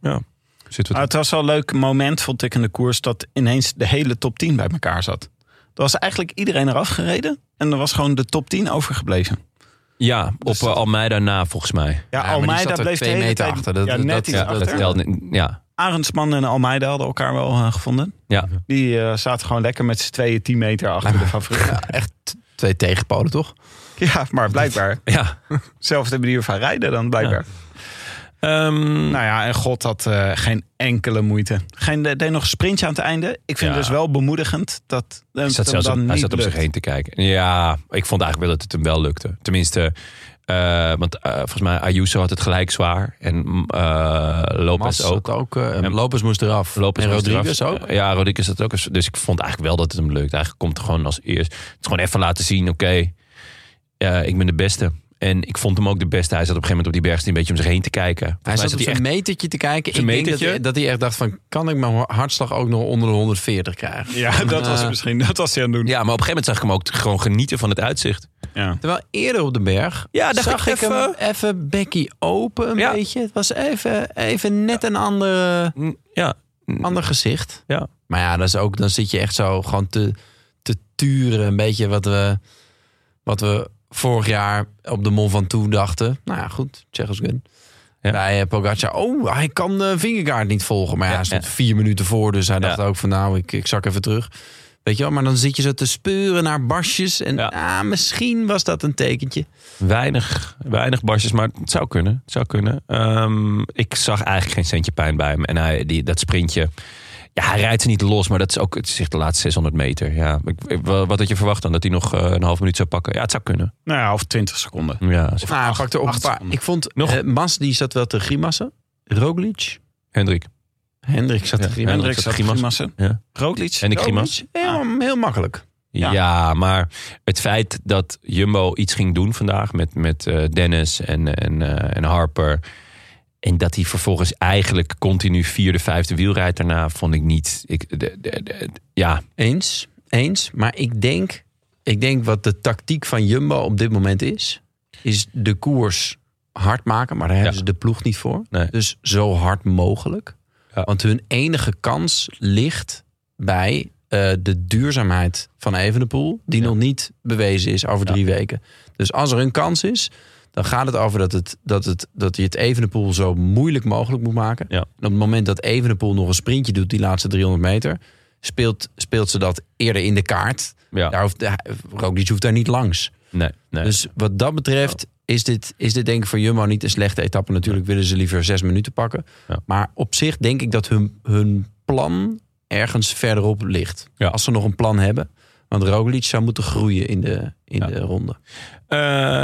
D: ja. Zit
C: Ah,
D: wat...
C: het was wel een leuk moment, vond ik, in de koers... dat ineens de hele top 10 bij elkaar zat. Er was eigenlijk iedereen eraf gereden. En er was gewoon de top 10 overgebleven.
D: Ja, op eh, Almeida na volgens mij.
C: Ja,
E: maar die zat er twee meter achter. Dat-
C: ja,
E: dat-
C: net
E: dat-
C: iets
E: ja,
D: Dat
C: achter.
D: telt niet. Ja,
C: Arendsman en Almeida hadden elkaar wel eh, gevonden.
D: ja.
C: Die eh, zaten gewoon lekker met z'n tweeën 10 meter achter de favoriet.
E: Twee tegenpolen, toch?
C: Ja, maar blijkbaar.
D: ja.
C: Zelfde manier van rijden dan blijkbaar.
D: Ehm,
C: Nou ja, en God had eh, geen enkele moeite. Geen, eh, deed nog een sprintje aan het einde. Ik vind
D: Ja.
C: dus wel bemoedigend dat eh,
D: Hij
C: het
D: zat
C: hem
D: zelfs
C: dan
D: op, hij
C: niet
D: zat op zich
C: lukt.
D: heen te kijken. Ja, ik vond eigenlijk wel dat het hem wel lukte. Tenminste, eh, want eh, volgens mij Ayuso had het gelijk zwaar. En eh Lopez
E: Mas
D: ook.
E: ook. ook eh,
D: En-
E: Lopez moest eraf.
D: Lopez
E: en
D: was eraf.
E: Rodriguez ook.
D: Eh, Ja, Rodriguez had ook. eens- Dus ik vond eigenlijk wel dat het hem lukt. Eigenlijk komt het gewoon als eerst. Het is gewoon even laten zien, oké, eh, ik ben de beste. En ik vond hem ook de beste. Hij zat op een gegeven moment op die bergsteen een beetje om zich heen te kijken. Volgens mij
E: Hij zat op
D: zat
E: zijn metertje te kijken. Ik
D: zijn
E: denk dat
D: metertje?
E: hij, dat hij echt dacht van... kan ik mijn hartslag ook nog onder de 140 krijgen?
C: Ja, dat was
E: Eh.
C: misschien. Dat was hij aan het doen.
D: Ja, maar op een gegeven moment zag ik hem ook gewoon genieten van het uitzicht.
C: Ja.
E: Terwijl eerder op de berg
D: Ja, dacht
E: zag
D: ik
E: ik, hem
D: even-
E: even Becky open een
D: Ja.
E: beetje. Het was even, even net een ander,
D: Mm, Ja,
E: ander gezicht.
D: Ja.
E: Maar ja, dat is ook, dan zit je echt zo gewoon te, te turen. Een beetje wat we, wat we vorig jaar op de Mont Ventoux dachten. Nou ja, goed, Tsjechos gun.
D: Ja.
E: Bij eh, Pogacar, oh, hij kan de vingerkaart niet volgen. Maar ja,
D: Ja,
E: hij stond
D: ja.
E: vier minuten voor, dus hij dacht
D: Ja.
E: ook van nou, ik, ik zak even terug. Weet je wel, maar dan zit je zo te speuren naar basjes. En
D: Ja.
E: ah, misschien was dat een tekentje.
D: Weinig, weinig barsjes, maar het zou kunnen. Het zou kunnen. Ehm, ik zag eigenlijk geen centje pijn bij hem. En hij, die, dat sprintje, ja, hij rijdt ze niet los, maar dat is ook het is echt de laatste 600 meter. Ja, ik, ik- wa- wat had je verwacht dan? Dat hij nog eh, een half minuut zou pakken? Ja, het zou kunnen.
C: Nou ja, of 20 seconden.
D: Ja, z-
E: Nou, hij pakte ook een
C: acht
E: paar.
C: seconden.
E: Ik vond
D: Nog?
E: eh, Mas, die zat wel te grimassen. Roglic.
D: Hendrik.
E: Hendrik zat te
D: Ja,
E: grimassen.
D: Hendrik
C: Hendrik
D: zat
C: zat
D: Grimas.
C: Grimassen.
D: Ja.
C: Roglic.
D: En ik grimas.
E: dus Heel, heel makkelijk.
D: Ja.
C: Ja.
D: maar het feit dat Jumbo iets ging doen vandaag met, met eh, Dennis en, en, eh, en Harper. En dat hij vervolgens eigenlijk continu vierde, vijfde wiel rijdt daarna, vond ik niet. Ik, de- de- de- ja,
E: Eens, eens. Maar ik denk, ik denk wat de tactiek van Jumbo op dit moment is... is de koers hard maken. Maar daar hebben
D: Ja.
E: ze de ploeg niet voor.
D: Nee.
E: Dus zo hard mogelijk.
D: Ja.
E: Want hun enige kans ligt bij eh, de duurzaamheid van Evenepoel... die
D: Ja.
E: nog niet bewezen is over drie weken. Dus als er een kans is... Dan gaat het over dat, het, dat, het, dat je het Evenepoel zo moeilijk mogelijk moet maken.
D: Ja.
E: En op het moment dat Evenepoel nog een sprintje doet, die laatste 300 meter, speelt, speelt ze dat eerder in de kaart.
D: ja.
E: Daar hoeft, Roglic hoeft daar niet langs.
D: Nee, nee.
E: Dus wat dat betreft is dit, is dit denk ik voor Jumbo niet een slechte etappe. Natuurlijk willen ze liever zes minuten pakken.
D: Ja.
E: Maar op zich denk ik dat hun, hun plan ergens verderop ligt.
D: Ja.
E: Als ze nog een plan hebben. Want Roglic zou moeten groeien in de, in
D: Ja.
E: de ronde.
D: Eh,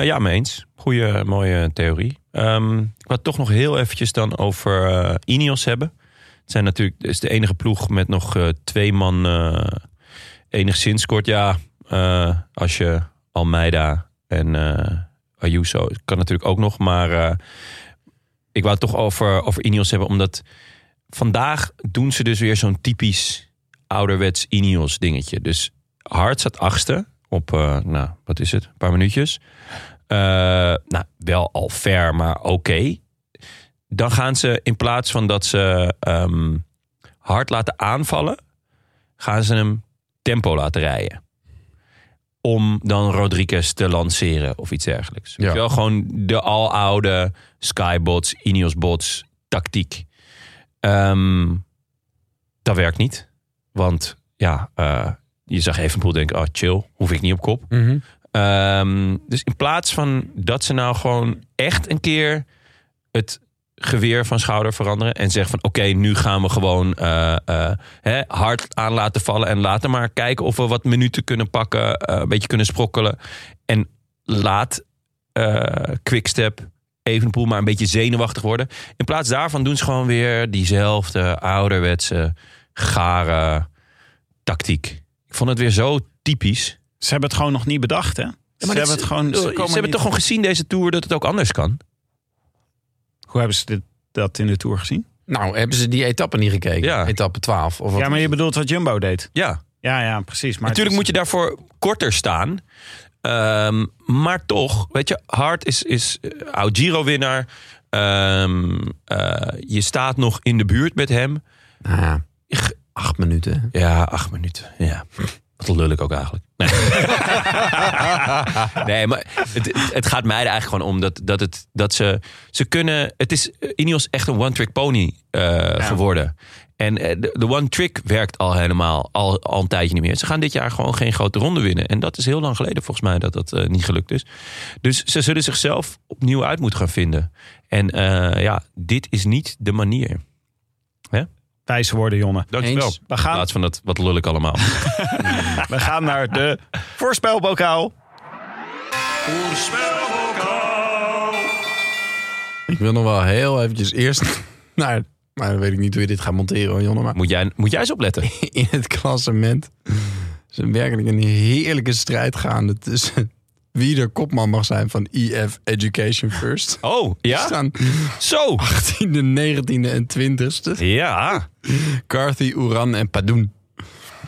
D: ja, mee eens. Goeie, mooie theorie. Ehm, ik wou het toch nog heel eventjes dan over eh Ineos hebben. Het zijn natuurlijk het is de enige ploeg met nog eh, twee man eh, enigszins kort. Ja, eh, als je Almeida en eh Ayuso kan natuurlijk ook nog. Maar eh, ik wou het toch over, over Ineos hebben. Omdat vandaag doen ze dus weer zo'n typisch ouderwets Ineos dingetje. Dus Hart staat achtste op, eh, nou, wat is het? Een paar minuutjes. Eh, nou, wel al ver, maar oké. Dan gaan ze in plaats van dat ze ehm, hard laten aanvallen, gaan ze hem tempo laten rijden. om dan Rodriguez te lanceren of iets dergelijks. Weet je Wel gewoon de aloude Skybots, Ineos-bots tactiek. Ehm, dat werkt niet. Want ja, eh, je zag Evenpoel denken, oh chill, hoef ik niet op kop. Ehm, dus in plaats van dat ze nou gewoon echt een keer het geweer van schouder veranderen en zeggen van oké, nu gaan we gewoon eh, eh, hè, hard aan laten vallen en laten maar kijken of we wat minuten kunnen pakken, eh, een beetje kunnen sprokkelen. En laat eh Quickstep Evenpoel maar een beetje zenuwachtig worden. In plaats daarvan doen ze gewoon weer diezelfde ouderwetse gare tactiek. Ik vond het weer zo typisch.
C: Ze hebben het gewoon nog niet bedacht, hè? ze
D: Ja, maar
C: hebben
D: dat
C: het
D: is-
C: gewoon.
D: bedoel,
C: Ze
D: Ze,
C: komen
D: hebben
C: niet-
D: toch gewoon gezien deze tour dat het ook anders kan.
C: Hoe hebben ze dit, dat in de tour gezien?
E: Nou, hebben ze die etappe niet gekeken?
D: Ja.
E: Etappe 12. Of wat?
C: Ja, maar je bedoelt wat Jumbo deed.
D: Ja,
C: Ja, ja, precies. Maar
D: natuurlijk moet je daarvoor korter staan. Ehm, maar toch, weet je, Hart is, is eh, oud Giro-winnaar. Ehm, eh, je staat nog in de buurt met hem.
E: Nou ja, acht minuten.
D: Ja, acht minuten. Ja. Wat lul ik ook eigenlijk. Nee, nee maar het, het gaat mij er eigenlijk gewoon om dat, dat, het, dat ze, ze kunnen... Het is eh, Ineos echt een one-trick pony eh, geworden. En eh, de, de one-trick werkt al helemaal al, al een tijdje niet meer. Ze gaan dit jaar gewoon geen grote ronde winnen. En dat is heel lang geleden volgens mij dat dat eh, niet gelukt is. Dus ze zullen zichzelf opnieuw uit moeten gaan vinden. En eh, ja, dit is niet de manier.
C: wijs worden, Jonne.
D: Dankjewel.
E: Eens.
C: We
D: In
C: gaan,
D: plaats van dat wat lul ik allemaal.
C: we gaan naar de voorspelbokaal.
E: Ik wil nog wel heel eventjes eerst naar... Maar dan weet ik niet hoe je dit gaat monteren, hoor, Jonne. Maar
D: Moet jij, moet jij eens opletten.
E: in het klassement is er werkelijk een heerlijke strijd gaande tussen wie de kopman mag zijn van EF Education First.
D: Oh,
E: Er
D: ja?
E: staan
D: Zo!
E: 18e, 19e en 20e.
D: Ja,
E: Carthy, Oeran en Padoen.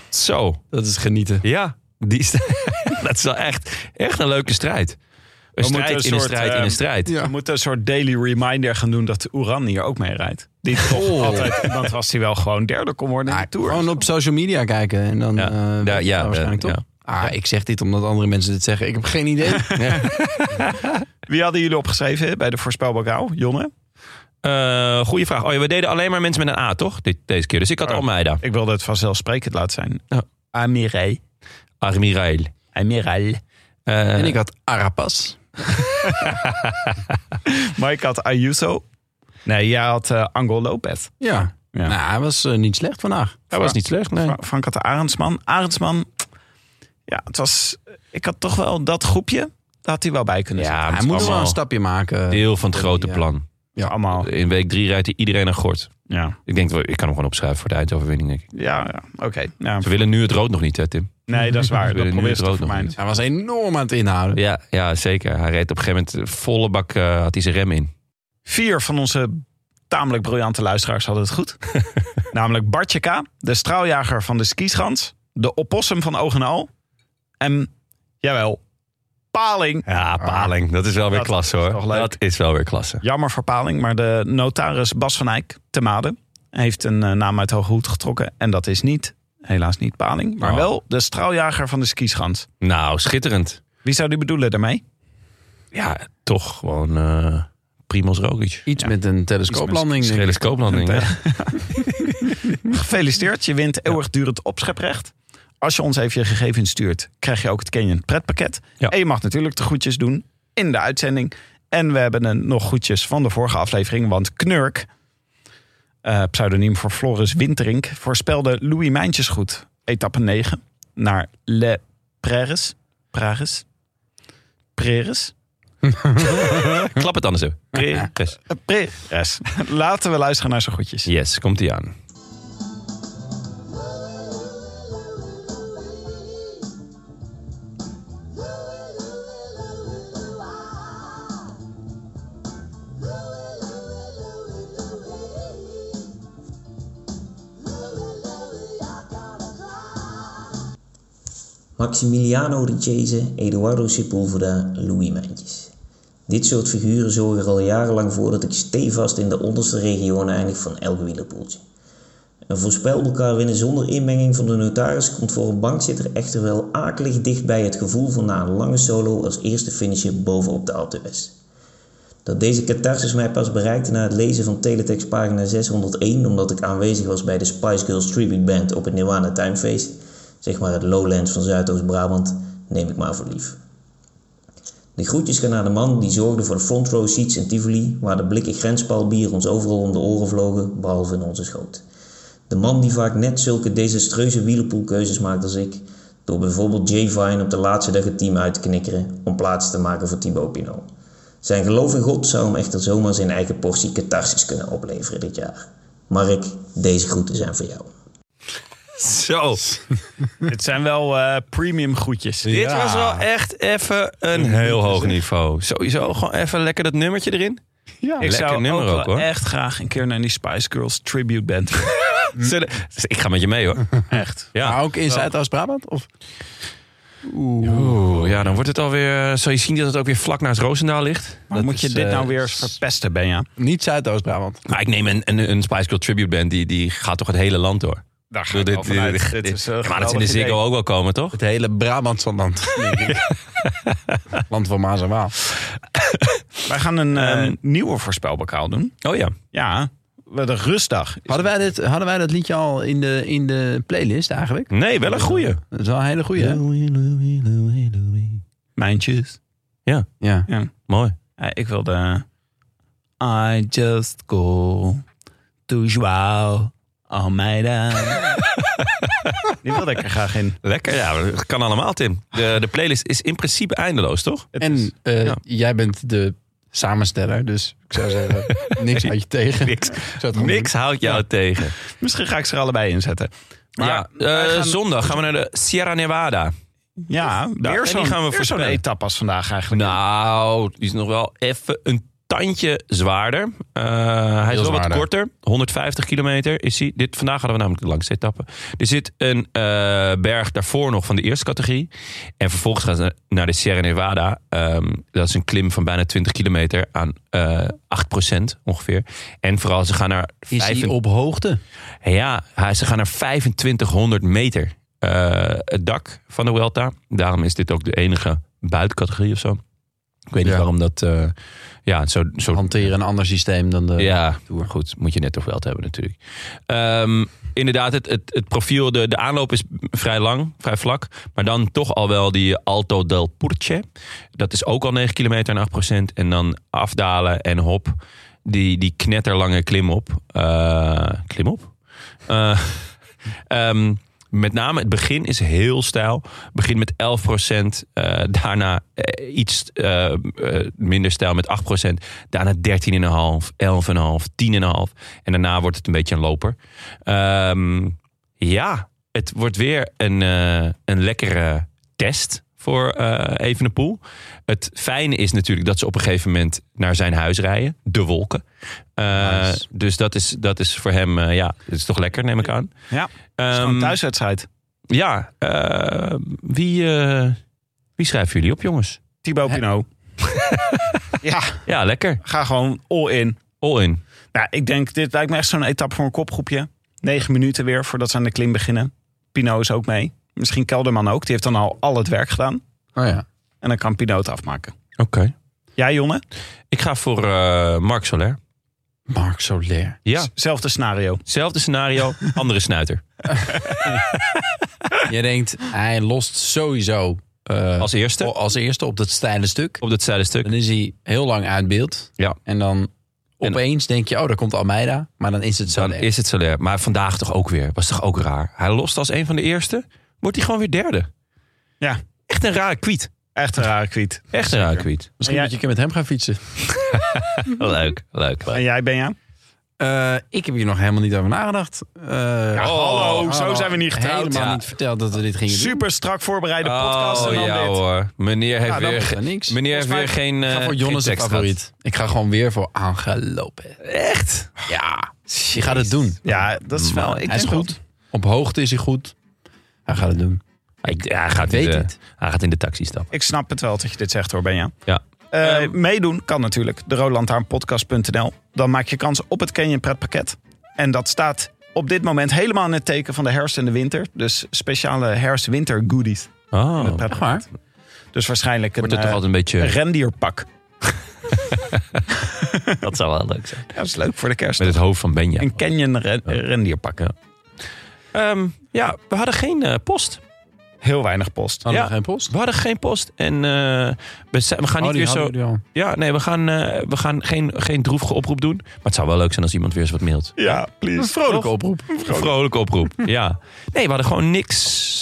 D: zo.
E: Dat is genieten.
D: Ja, die is- dat is wel echt, echt een leuke strijd. Een
C: moeten
D: strijd
C: een
D: in een
C: soort,
D: strijd in
C: ehm,
D: een strijd.
E: Ja.
C: We moeten een soort daily reminder gaan doen dat Oeran hier ook mee rijdt. Die toch altijd iemand was die wel gewoon derde kon worden in de Tour.
E: Oh. Ah, Gewoon op social media kijken en dan
D: Ja.
E: eh, weet
D: Ja,
E: je
D: ja,
E: wel waarschijnlijk
D: eh,
E: toch? Ah, ik zeg dit omdat andere mensen dit zeggen. Ik heb geen idee. Ja.
C: Wie hadden jullie opgeschreven bij de voorspelbokaal? Jonne?
D: Eh goeie vraag. Oh ja, we deden alleen maar mensen met een A, toch? Dit, deze keer. Dus ik had
C: Oh.
D: Almeida.
C: Ik wilde het vanzelfsprekend laten zijn.
D: Ja.
E: Oh.
C: Amirel.
D: Armirail.
C: Amirel.
D: Eh,
E: En ik had Arapas.
C: Mike had Ayuso. Nee, jij had eh Angel Lopez.
E: Ja.
C: Ja.
E: Nou, hij was eh, niet slecht vandaag.
D: dat was niet slecht, nee.
C: Fra- Frank had Arendsman. Arendsman, ja, het was... Ik had toch wel dat groepje, daar had hij wel bij kunnen
D: Ja,
E: hij
D: het
E: moet
D: is
E: wel een
D: allemaal
E: stapje maken.
D: deel van het grote
E: Ja.
D: plan.
C: zitten. Allemaal,
D: In week drie rijdt iedereen naar Gort.
C: ja.
D: Ik denk, wel, ik kan hem gewoon opschrijven voor de eindoverwinning, denk ik.
C: Ja, ja. oké. Ja.
D: Ze willen nu het rood nog niet, hè, Tim?
C: Nee, dat is waar.
D: willen
C: Dat
D: nu
C: probeer
D: het
C: ze te
D: rood nog
C: vermijden.
E: Hij was enorm aan het inhouden.
D: Ja, ja zeker. Hij reed op een gegeven moment eh, volle bak, eh, had hij zijn rem in.
C: Vier van onze tamelijk briljante luisteraars hadden het goed. Namelijk Bartje K., de straaljager van de skischans. De opossum van Oog en Al. En, jawel, Paling.
D: Ja, Paling. Dat is wel weer
C: Dat
D: klasse, hoor.
C: toch leuk.
D: Dat is wel weer klasse.
C: Jammer voor Paling, maar de notaris Bas van Eyck te Maden heeft een eh, naam uit hoge hoed getrokken. En dat is niet, helaas niet Paling, maar
D: Oh.
C: wel de straaljager van de skischans.
D: Nou, schitterend.
C: Wie zou die bedoelen daarmee?
D: Ja, toch gewoon eh Primoz Rogic.
E: Iets met een telescooplanding. denk ik.
D: Scheleskooplanding. Ja.
C: Gefeliciteerd, je wint eeuwigdurend opscheprecht. Als je ons even je gegevens stuurt, krijg je ook het Canyon pretpakket.
D: Ja.
C: En je mag natuurlijk de groetjes doen in de uitzending. En we hebben een, nog groetjes van de vorige aflevering, want Knurk, eh, pseudoniem voor Floris Winterink, voorspelde Louis Mijntjes goed. Etappe 9 naar Le Prairies. Prairies. Prairies.
D: Klap het anders even. Chris.
C: Eh, Prairies. Laten we luisteren naar zijn groetjes.
D: Yes, komt hij aan.
F: Maximiliano Richese, Eduardo Sepulveda, Louis Mijntjes. Dit soort figuren zorgen er al jarenlang voor dat ik stevast in de onderste regionen eindig van elk wielerpoeltje. Een voorspelbokaal winnen zonder inmenging van de notaris komt voor een bankzitter echter wel akelig dicht bij het gevoel van na een lange solo als eerste finisher bovenop de Alpe d'Huez. Dat deze catharsis mij pas bereikte na het lezen van teletext pagina 601 omdat ik aanwezig was bij de Spice Girls Tribute Band op het Nirwana Timefeest, zeg maar het lowlands van Zuidoost-Brabant, neem ik maar voor lief. De groetjes gaan naar de man die zorgde voor de front row seats in Tivoli, waar de blikken grenspaalbier ons overal om de oren vlogen, behalve in onze schoot. De man die vaak net zulke desastreuze wielerpoolkeuzes maakt als ik, door bijvoorbeeld Jay Vine op de laatste dag het team uit te knikkeren om plaats te maken voor Thibaut Pinot. Zijn geloof in God zou hem echter zomaar zijn eigen portie catharsis kunnen opleveren dit jaar. Mark, deze groeten zijn voor jou.
D: Zo.
C: Het zijn wel eh, premium groetjes.
D: Dit was wel echt even een heel hoog niveau. Sowieso gewoon even lekker dat nummertje erin.
C: Ik
D: Lekker
C: zou
D: nummer
C: ook wel
D: ook, hoor.
C: echt graag een keer naar die Spice Girls tribute band.
D: Zullen- Hm. Dus Ik ga met je mee hoor.
C: echt.
D: Ja.
E: Maar ook in Zuidoost-Brabant? Of?
D: Oeh, ja, dan wordt het alweer. Zal je zien dat het ook weer vlak naast Roosendaal ligt?
C: Maar
D: Dat
C: moet je
D: is,
C: dit
D: eh,
C: nou weer eens verpesten, Benja?
E: Niet Zuidoost-Brabant.
D: Maar ik neem een, een, een Spice Girl tribute band, die, die gaat toch het hele land door?
C: Daar
D: Ik bedoel, dit- dit- dit- Ja, maar dat is in de Ziggo ook wel komen, toch?
E: Het hele Brabantse land. denk ik. land van Maas en Waal.
C: Wij gaan een eh,
D: Ehm,
C: nieuwe voorspelbokaal doen.
D: Oh ja.
C: Ja, de rustdag.
E: Hadden wij, dit, hadden wij dat liedje al in de, in de playlist eigenlijk?
D: Nee, wel een goeie.
E: Dat is wel een hele goeie. hè?
C: Mijntjes.
E: Ja.
D: Mooi.
C: Ja, ik wilde... I just go to Joao Almeida. Die wilde ik er graag in.
D: Lekker, ja, dat kan allemaal, Tim. De, de playlist is in principe eindeloos, toch?
C: Het is-
E: En eh,
D: ja.
E: jij bent de samensteller, dus ik zou zeggen, niks uit je tegen.
D: Niks.
E: Ik zou het gewoon
D: Niks houdt jou tegen.
C: misschien ga ik ze er allebei in zetten. Maar
D: ja,
C: wij
D: eh,
C: gaan-
D: zondag gaan we naar de Sierra Nevada.
C: Ja,
D: en
C: weer
D: die
C: zo'n
D: gaan we
C: weer zo'n
D: voorspellen.
C: etappe als vandaag eigenlijk.
D: Nou, die is nog wel even een tandje zwaarder. Eh, hij is wel wat
E: zwaarder.
D: korter. 150 kilometer is hij. Dit, vandaag hadden we namelijk de langste etappe. Er zit een eh, berg daarvoor nog van de eerste categorie. En vervolgens gaan ze naar de Sierra Nevada. Ehm, dat is een klim van bijna 20 kilometer aan eh 8% ongeveer. En vooral ze gaan naar
E: Is hij
D: 25
E: op hoogte?
D: ja, hij- ze gaan naar 2500 meter. eh, het dak van de Welta. Daarom is dit ook de enige buitencategorie of zo. Ik weet niet
E: Ja.
D: waarom dat. eh, ja, zo. zo
E: Hanteren een ander systeem dan de...
D: ja, goed. Moet je net toch Welta hebben, natuurlijk. Ehm, inderdaad, het, het, het profiel, de, de aanloop is vrij lang, vrij vlak. Maar dan toch al wel die Alto del Purce. Dat is ook al 9 kilometer en 8 procent. En dan afdalen en hop. Die, die knetterlange klimop. Eh klimop? Eh, ehm, met name het begin is heel stijl. Het begint met 11 eh, daarna eh, iets eh, eh, minder stijl met 8 Daarna 13,5, 11,5, 10,5. En daarna wordt het een beetje een loper. Ehm, ja, het wordt weer een, eh, een lekkere test voor eh Evenepoel. Het fijne is natuurlijk dat ze op een gegeven moment naar zijn huis rijden. De wolken. Eh,
E: Nice.
D: Dus dat is, dat is voor hem, eh, ja, dat is toch lekker neem ik aan.
C: Ja, het is
D: Ehm,
C: gewoon een thuiswedstrijd.
D: ja, eh, wie, eh, wie schrijven jullie op, jongens?
C: Thibaut Pinot. ja,
D: Ja, lekker.
C: ga gewoon all in.
D: All in.
C: Nou, ik denk, dit lijkt me echt zo'n etappe voor een kopgroepje. Negen minuten weer voordat ze aan de klim beginnen. Pinot is ook mee. Misschien Kelderman ook. Die heeft dan al al het werk gedaan.
E: Oh ja.
C: En dan kan Pinot het afmaken.
D: Oké.
C: Jij, Jonne?
D: Ik ga voor eh, Marc Soler.
E: Mark Soler.
D: Ja,
C: Zelfde scenario.
D: zelfde scenario, andere snuiter.
E: Je denkt, hij lost sowieso eh,
D: Als eerste
E: als eerste op dat steile stuk.
D: op dat zijdenstuk.
E: Dan is hij heel lang uit beeld.
D: Ja.
E: En dan opeens denk je, oh, daar komt Almeida. Maar dan is het
D: Dan
E: Soler.
D: is het Soler. Maar vandaag toch ook weer. Was toch ook raar. Hij lost als een van de eerste. Wordt hij gewoon weer derde.
C: Ja.
D: Echt een rare kwiet.
C: Echt een rare kwiet.
D: Echt een rare kwiet.
E: Misschien
C: En jij-
E: moet je een keer met hem gaan fietsen.
D: Leuk, leuk.
C: En jij, Benja?
E: Eh, ik heb hier nog helemaal niet over nagedacht. Eh, oh,
C: hallo, zo zijn we niet getrouwd.
E: Helemaal
C: Ja.
E: niet verteld dat we dit gingen doen.
C: Super strak voorbereide podcast.
D: Oh
C: en dan
D: ja
C: dit.
D: hoor. Meneer heeft
E: dan
D: weer,
E: wordt
D: ge-
E: er niks.
D: meneer heeft weer
C: Volgens mij-
D: geen.
E: Ik ga
D: eh,
E: voor
D: geen
E: Jonas een
D: tekst gehad.
E: favoriet. Ik ga gewoon weer voor Angel Lopez.
D: Echt?
E: Ja, je gaat het doen.
C: Ja, dat
D: Mm.
C: is wel... Oh, Ik
E: hij is
C: denk
E: goed. Op hoogte is hij goed. Hij gaat het doen.
D: Ik, ja, hij, gaat
E: weet
D: in de,
E: het.
D: hij gaat in de taxi stappen.
C: Ik snap het wel dat je dit zegt hoor, Benja.
D: Ja.
C: Eh,
D: Ehm.
C: meedoen kan natuurlijk. De Roland aan podcast.nl. Dan maak je kans op het Canyon pretpakket. En dat staat op dit moment helemaal in het teken van de herfst en de winter. Dus speciale herfst-winter goodies.
D: Oh.
C: Prettig Dus waarschijnlijk een,
E: Wordt het toch
C: eh,
D: Nou
E: altijd een beetje...
C: een rendierpak.
D: Dat zou wel leuk zijn.
C: Ja, dat is leuk voor de kerst.
D: Met het hoofd van Benja.
C: Een canyon ren- rendierpak.
D: Ehm, ja, we hadden geen eh, post.
C: Heel weinig post.
E: Hadden
D: Ja.
E: we geen post?
D: We hadden geen post. En eh, we, zijn- we gaan
E: Oh,
D: niet
E: die
D: weer
E: hadden
D: zo...
E: jullie al.
D: Ja, nee, we gaan, eh, we gaan geen, geen droevige oproep doen. Maar het zou wel leuk zijn als iemand weer eens wat mailt.
C: Ja, please.
E: Vrolijke oproep.
D: Een vrolijke oproep, ja. Nee, we hadden gewoon niks...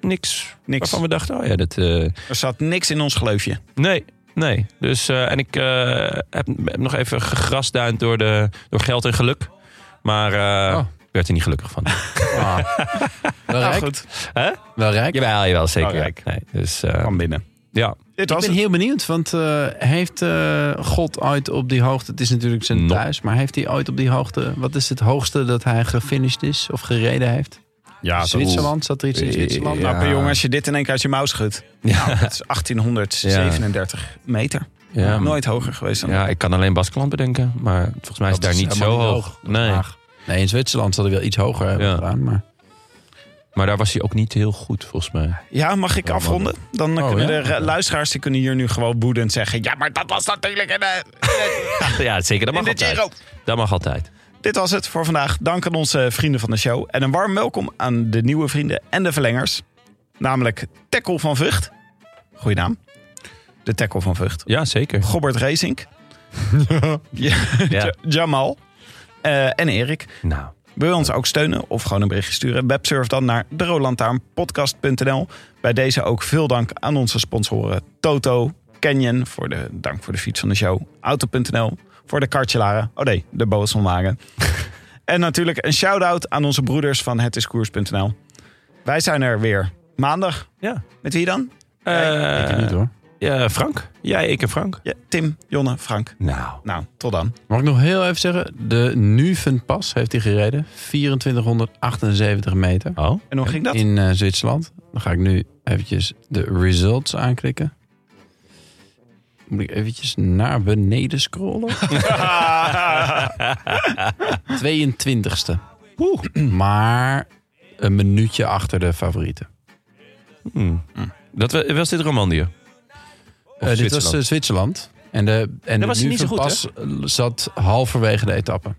D: Niks,
C: Niks.
D: waarvan we dachten, oh ja, dat... eh,
C: Er zat niks in ons gleufje.
D: nee, nee. Dus, eh, en ik eh, heb, heb nog even gegrasduind door, de, door geld en geluk. Maar eh,
E: Oh.
D: ik werd er niet gelukkig van.
E: Ah. Wel rijk.
D: Hè?
E: Wel rijk.
D: Jawel, jawel, zeker.
C: Oh, kijk.
D: nee, dus eh,
C: Van binnen.
D: ja,
C: Dit
E: Ik
C: was
E: ben
C: het.
E: heel benieuwd, want eh, heeft eh, God ooit op die hoogte... Het is natuurlijk zijn
D: No.
E: thuis, maar heeft hij ooit op die hoogte... Wat is het hoogste dat hij gefinished is of gereden heeft?
C: Ja,
D: Ah, Dus
C: zo-
E: Zwitserland? Zat er iets in Zwitserland?
C: Nou,
E: Ja.
C: per jongen, als je dit in één keer uit je mouw schudt. Ja. dat is 1837 meter.
D: ja,
C: Nooit hoger geweest dan
D: ja, ik kan alleen Baskeland bedenken. Maar volgens mij is het daar niet zo hoog. Nee,
E: Nee, in Zwitserland zal hij wel iets hoger hebben
D: Ja.
E: gedaan. Maar
D: maar daar was hij ook niet heel goed, volgens mij.
C: Ja, mag ik afronden? Dan eh,
E: Oh,
C: kunnen
E: ja?
C: de eh, luisteraars die kunnen hier nu gewoon boedend zeggen... Ja, maar dat was natuurlijk in de,
D: Ja, zeker. Dat
C: in
D: mag
C: de Giro.
D: altijd. Dat mag altijd.
C: Dit was het voor vandaag. Dank aan onze vrienden van de show. En een warm welkom aan de nieuwe vrienden en de verlengers. Namelijk Tackle van Vught. Goeie naam. De Tackle van Vught.
D: Ja, zeker.
C: Gobbert Racing. Ja.
D: Ja.
C: Ja- Jamal. eh, en Erik.
D: Nou,
C: Wil je ons ook steunen of gewoon een berichtje sturen? Websurf dan naar derolantaarnpodcast.nl. Bij deze ook veel dank aan onze sponsoren Toto, Canyon voor de dank voor de fiets van de show, Auto.nl voor de kartjelaren, oh nee, de Boasonwagen. en natuurlijk een shout-out aan onze broeders van hetiskoers.nl. Wij zijn er weer maandag.
D: ja. Eh,
C: Met wie dan?
E: ik weet niet hoor.
D: ja, Frank. Jij, ik en Frank.
C: Ja, Tim, Jonne, Frank.
D: Nou.
C: Nou, tot dan.
E: Mag ik nog heel even zeggen? De Nuvenpas heeft hij gereden. 2478 meter.
D: Oh,
C: En hoe ging dat?
E: in eh, Zwitserland. Dan ga ik nu eventjes de results aanklikken. Moet ik eventjes naar beneden scrollen? 22ste. Maar een minuutje achter de favorieten.
D: Hmm. dat wa- was dit Romandie?
E: Eh, dit was eh,
D: Zwitserland.
E: Zwitserland. En de, en de
D: was hij niet zo
E: Nuven
D: goed,
E: pas zat halverwege de etappe.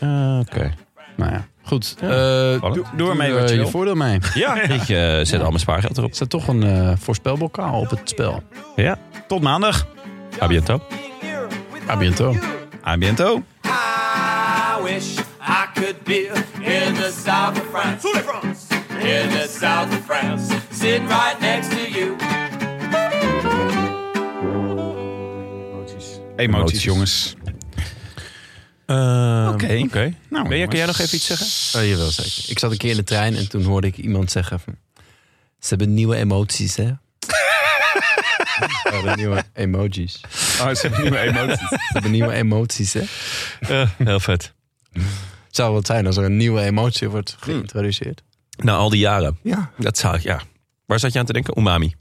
D: Ah, Oké.
E: Nou ja, goed. Eh
D: Doe-
E: doe-
C: doe ermee wat
E: eh,
C: je wil.
E: je voordeel mee.
D: Ja, ik eh, zet al mijn spaargeld erop.
E: Er staat toch een eh voorspelbokaal op het spel.
D: Ja,
C: Tot maandag.
D: à bientôt.
E: A bientôt.
C: A biento.
G: I wish I could be in the south of France. In the south of France. Sitting right next to you.
C: Emoties, Nou, jongens. Oké.
D: Oké.
C: Nou,
D: Benja, kun jij nog
C: jongens.
D: even iets zeggen?
E: Oh, jawel, zeker. Ik zat een keer in de trein en toen hoorde ik iemand zeggen van... Ze hebben nieuwe emoties, hè? Oh, de nieuwe emojis. Ze
C: Oh, ze hebben nieuwe emoties.
E: hebben nieuwe emoties, hè?
D: Eh, heel vet.
E: Zou wat zijn als er een nieuwe emotie wordt geïntroduceerd?
D: Na al die jaren.
E: Ja.
D: Dat zou ik, ja. Waar zat je aan te denken? Umami.